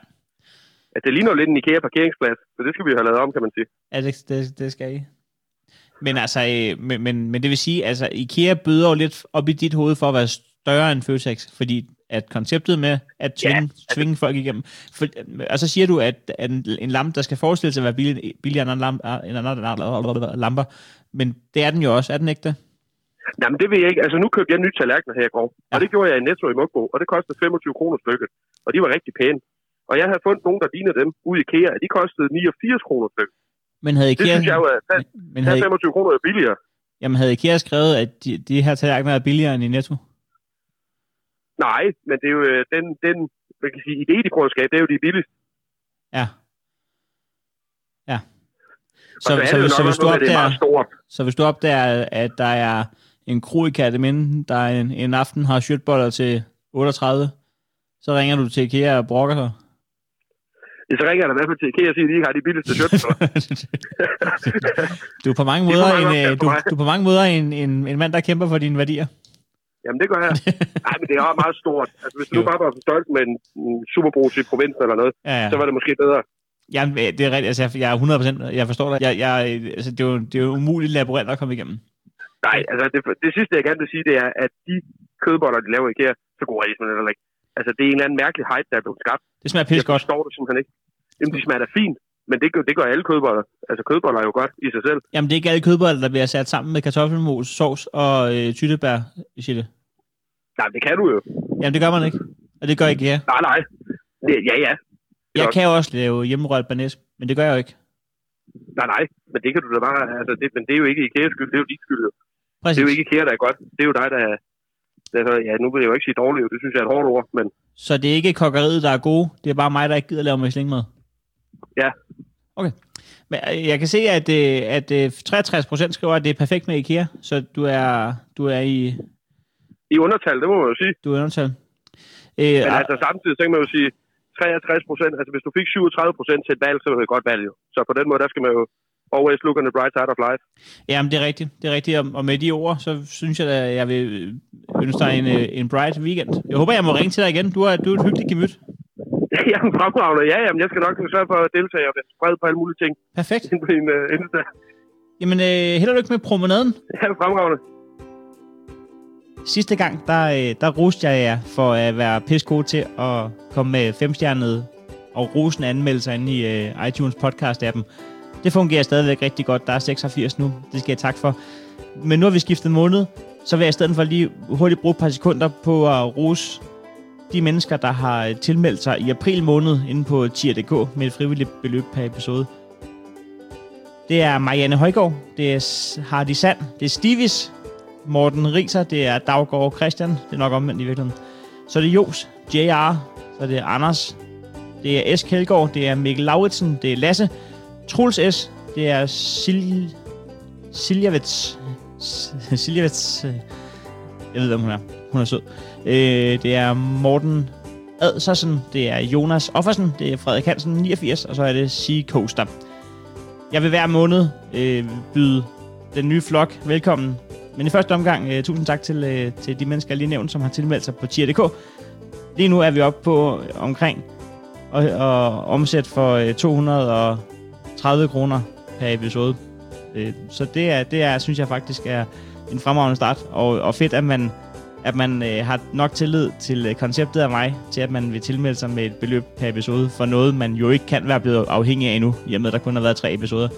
S5: Ja, det ligner jo lidt en IKEA-parkeringsplads, så det skal vi jo have lavet om, kan man sige.
S2: Ja, det, det, det skal I. Men altså, øh, men, men, men det vil sige, altså IKEA byder jo lidt op i dit hoved for at være større end Føtex, fordi at konceptet med at tvinge, ja, altså, tvinge folk igennem. For, øh, og så siger du, at, at en, en lampe, der skal forestille sig at være billig, billigere end andre lamper, lamper, men det er den jo også, er den ikke det?
S5: Jamen, det ved jeg ikke. Altså, nu købte jeg nye tallerkener her i går. Og det gjorde jeg i Netto i Mokbo, og det kostede 25 kroner stykket. Og de var rigtig pæne. Og jeg havde fundet nogen, der lignede dem ude i IKEA. og De kostede 89 kroner stykket.
S2: Men havde
S5: Det
S2: IKEA,
S5: synes jeg jo er fandt.
S2: men havde,
S5: 25 kroner er billigere.
S2: jamen, havde IKEA skrevet, at de, de her tallerkener er billigere end i Netto?
S5: Nej, men det er jo øh, den, den man kan sige, idé, de prøver at skabe, det er jo de billigste.
S2: Ja. Ja.
S5: Så, så, er det jo nok også noget, med, at det er meget stort.
S2: Så hvis du opdager, at der er en kro i Kataminde, der en, en aften har shirtboller til 38, så ringer du til IKEA og brokker sig.
S5: Så ringer jeg da i hvert fald til IKEA og siger, at de ikke har de billigste shirts.
S2: du er på mange
S5: Det er
S2: måder,
S5: for mange
S2: en, øh,
S5: opgaver
S2: du,
S5: for mig.
S2: du er på mange måder en, en, en mand, der kæmper for dine værdier.
S5: Jamen, det gør jeg. Nej, men det er også meget stort. Altså, hvis du nu
S2: Jo.
S5: bare var stolt med en, en superbrus i provinsen eller noget,
S2: Ja, ja.
S5: så var det måske bedre.
S2: Jamen, øh, det er rigtigt. Altså, jeg, jeg er 100%, jeg forstår dig. Jeg, jeg, øh, altså, det, er jo, det er jo umuligt laborant at komme igennem.
S5: Nej, altså det, det sidste, jeg gerne vil sige, det er, at de kødboller, de laver i IKEA, så gode er de simpelthen heller ikke. Altså, det er en eller anden mærkelig hype, der er blevet skabt.
S2: Det smager pisse
S5: jeg
S2: godt.
S5: forstår det simpelthen ikke. Jamen, de smager da fint, men det, gør- det gør alle kødboller. Altså, kødboller er jo godt i sig selv.
S2: Jamen, det er ikke alle kødboller, der bliver sat sammen med kartoffelmos, sovs og øh, tyttebær, siger det.
S5: Nej, det kan du jo.
S2: Jamen, det gør man ikke. Og
S5: Mm.
S2: det gør ikke jeg.
S5: Nej, nej. Det, ja, ja.
S2: Jeg
S5: Godt.
S2: kan jo også lave hjemmerørt banæs, men det gør jeg jo ikke.
S5: Nej, nej. Men det kan du da bare... Altså, det, men det er jo ikke IKEA's skyld, det er jo din skyld. jo.
S2: Præcis.
S5: Det er jo ikke IKEA, der er godt. Det er jo dig, der er... Der, er- ja, nu vil jeg jo ikke sige dårlig, jo. det synes jeg er et hårdt ord, men
S2: Så det er ikke kokkeriet, der er gode. Det er bare mig, der ikke gider lave Michelin-mad.
S5: Ja.
S2: Okay. Men øh, jeg kan se, at, øh, at øh, 63 procent skriver, at det er perfekt med IKEA, så du er, du er i
S5: i undertal, det må man jo sige.
S2: du er i undertal. Øh,
S5: Men
S2: ja,
S5: altså samtidig, så kan man jo sige, 63 procent, altså hvis du fik 37 procent til et valg, så var det et godt valg jo. Så på den måde, der skal man jo always look on the bright side of life.
S2: jamen, det er rigtigt. Det er rigtigt. Og, og med de ord, så synes jeg, at jeg vil ønske dig en, øh, en bright weekend. Jeg håber, jeg må ringe til dig igen. Du er, du er et hyggeligt gemyt.
S5: Jamen fremragende, ja, jamen jeg skal nok sørge for at deltage og være spredt på alle mulige ting
S2: Perfekt.
S5: inde på din uh, Insta.
S2: Jamen, øh, held og lykke med promenaden.
S5: Ja, fremragende.
S2: Sidste gang, der, øh, der roste jeg jer for at være pissegode til at komme med femstjernede og rosende anmeldelser inde i øh, iTunes podcast-appen. Det fungerer stadigvæk rigtig godt. Der er 86 nu. Det skal jeg tak for. Men nu har vi skiftet måned, så vil jeg i stedet for lige hurtigt bruge et par sekunder på at rose de mennesker, der har øh, tilmeldt sig i april måned inde på tier.dk med et frivilligt beløb per episode. Det er Marianne Højgaard, det er S- Hardy Sand, det er Stivis, Morten Riser, det er Daggaard Christian, det er nok omvendt i virkeligheden. Så er det Jos, JR, så er det Anders, det er S. Kjeldgaard, det er Mikkel Lauritsen, det er Lasse, Truls S, det er Sil... Siljavets. S- Siljavets. øh, Jeg ved, hvem hun er. Hun er sød. Øh, det er Morten Adsersen, det er Jonas Offersen, det er Frederik Hansen, 89, og så er det Sea Coaster. Jeg vil hver måned øh, byde den nye flok velkommen. Men i første omgang, øh, tusind tak til, øh, til de mennesker, jeg lige nævnte, som har tilmeldt sig på tier.dk. Lige nu er vi oppe på øh, omkring og, og omsæt for øh, 230 kroner per episode. Øh, så det, er, det er, synes jeg faktisk er en fremragende start, og, og fedt, at man, at man øh, har nok tillid til øh, konceptet af mig, til at man vil tilmelde sig med et beløb per episode, for noget, man jo ikke kan være blevet afhængig af endnu, i og med, at der kun har været tre episoder.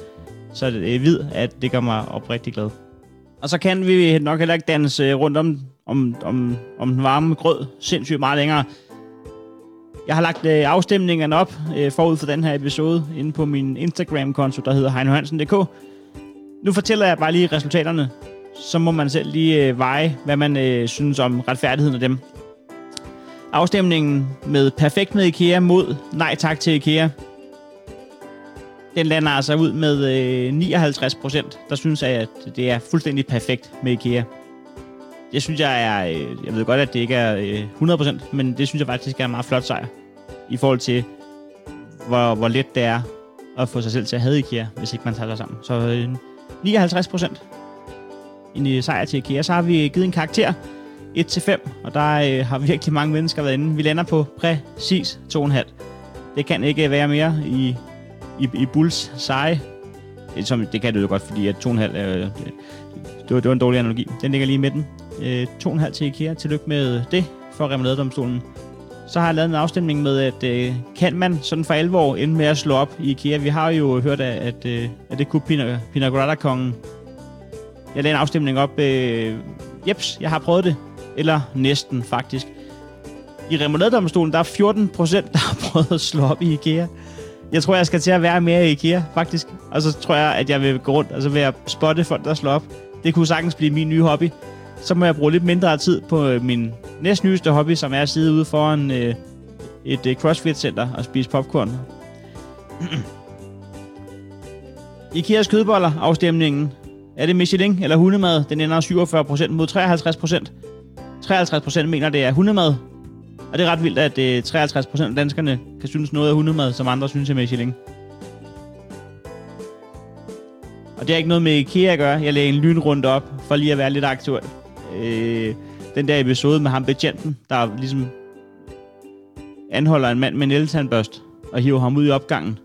S2: Så øh, vid, at det gør mig oprigtig glad. Og så kan vi nok heller ikke danse øh, rundt om, om, om, om den varme grød sindssygt meget længere. Jeg har lagt øh, afstemningerne op øh, forud for den her episode inde på min Instagram-konto, der hedder heinohansen.dk. Nu fortæller jeg bare lige resultaterne. Så må man selv lige øh, veje, hvad man øh, synes om retfærdigheden af dem. Afstemningen med perfekt med IKEA mod nej tak til IKEA. Den lander altså ud med øh, 59 procent, der synes jeg, at det er fuldstændig perfekt med IKEA. Det synes jeg er, øh, jeg ved godt, at det ikke er øh, 100 procent, men det synes jeg faktisk er en meget flot sejr. I forhold til, hvor, hvor let det er at få sig selv til at have IKEA, hvis ikke man tager sig sammen. Så øh, 59 procent en øh, sejr til IKEA. Så har vi givet en karakter 1-5, og der øh, har virkelig mange mennesker været inde. Vi lander på præcis 2,5. Det kan ikke være mere i, i, i Bulls seje. Det, som, det kan det jo godt, fordi at 2,5 er... Øh, det, det, var, det var en dårlig analogi. Den ligger lige i midten. Øh, 2,5 til IKEA. Tillykke med det for Remeladedomstolen. Så har jeg lavet en afstemning med, at øh, kan man sådan for alvor ende med at slå op i IKEA? Vi har jo hørt, at, at, øh, at det kunne Pina, Pina Colada-kongen jeg lagde en afstemning op. Øh, jeps, jeg har prøvet det. Eller næsten, faktisk. I remouladedomstolen, der er 14 procent, der har prøvet at slå op i IKEA. Jeg tror, jeg skal til at være mere i IKEA, faktisk. Og så tror jeg, at jeg vil gå rundt, og så vil jeg spotte folk, der slår op. Det kunne sagtens blive min nye hobby. Så må jeg bruge lidt mindre tid på øh, min næstnyeste hobby, som er at sidde ude foran øh, et øh, CrossFit-center og spise popcorn. Ikeas kødboller, afstemningen. Er det Michelin eller hundemad? Den ender 47% mod 53%. 53% mener, det er hundemad. Og det er ret vildt, at øh, 53% af danskerne kan synes noget af hundemad, som andre synes er Michelin. Og det har ikke noget med IKEA at gøre. Jeg lagde en lynrunde op, for lige at være lidt aktuel. Øh, den der episode med ham betjenten, der ligesom anholder en mand med en eltandbørst og hiver ham ud i opgangen.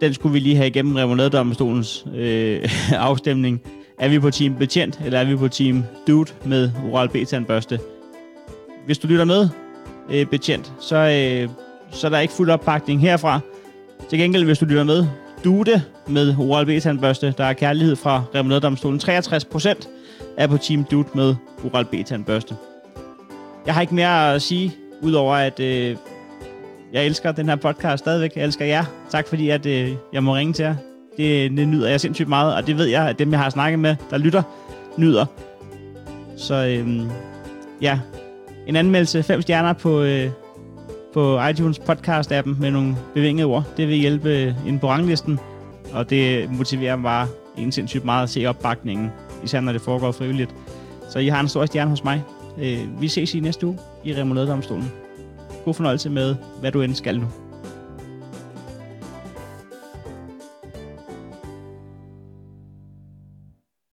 S2: Den skulle vi lige have igennem Remonadedomstolens øh, afstemning. Er vi på team betjent, eller er vi på team dude med oral B-tandbørste? Hvis du lytter med, øh, betjent, så, øh, så er der ikke fuld opbakning herfra. Til gengæld, hvis du lytter med, Dude med oral B-tandbørste. Der er kærlighed fra Remonadedomstolen. 63 procent er på Team Dude med oral B-tandbørste. Jeg har ikke mere at sige, udover at øh, jeg elsker den her podcast stadigvæk. Jeg elsker jer. Tak fordi at, øh, jeg må ringe til jer. Det, det nyder jeg sindssygt meget, og det ved jeg, at dem, jeg har snakket med, der lytter, nyder. Så øh, ja, en anmeldelse. Fem stjerner på... Øh, på iTunes podcast-appen med nogle bevingede ord. Det vil hjælpe ind på ranglisten, og det motiverer mig bare en sindssygt meget at se opbakningen, især når det foregår frivilligt. Så I har en stor stjerne hos mig. Øh, Vi ses i næste uge i Remoladedomstolen. God fornøjelse med, hvad du end skal nu.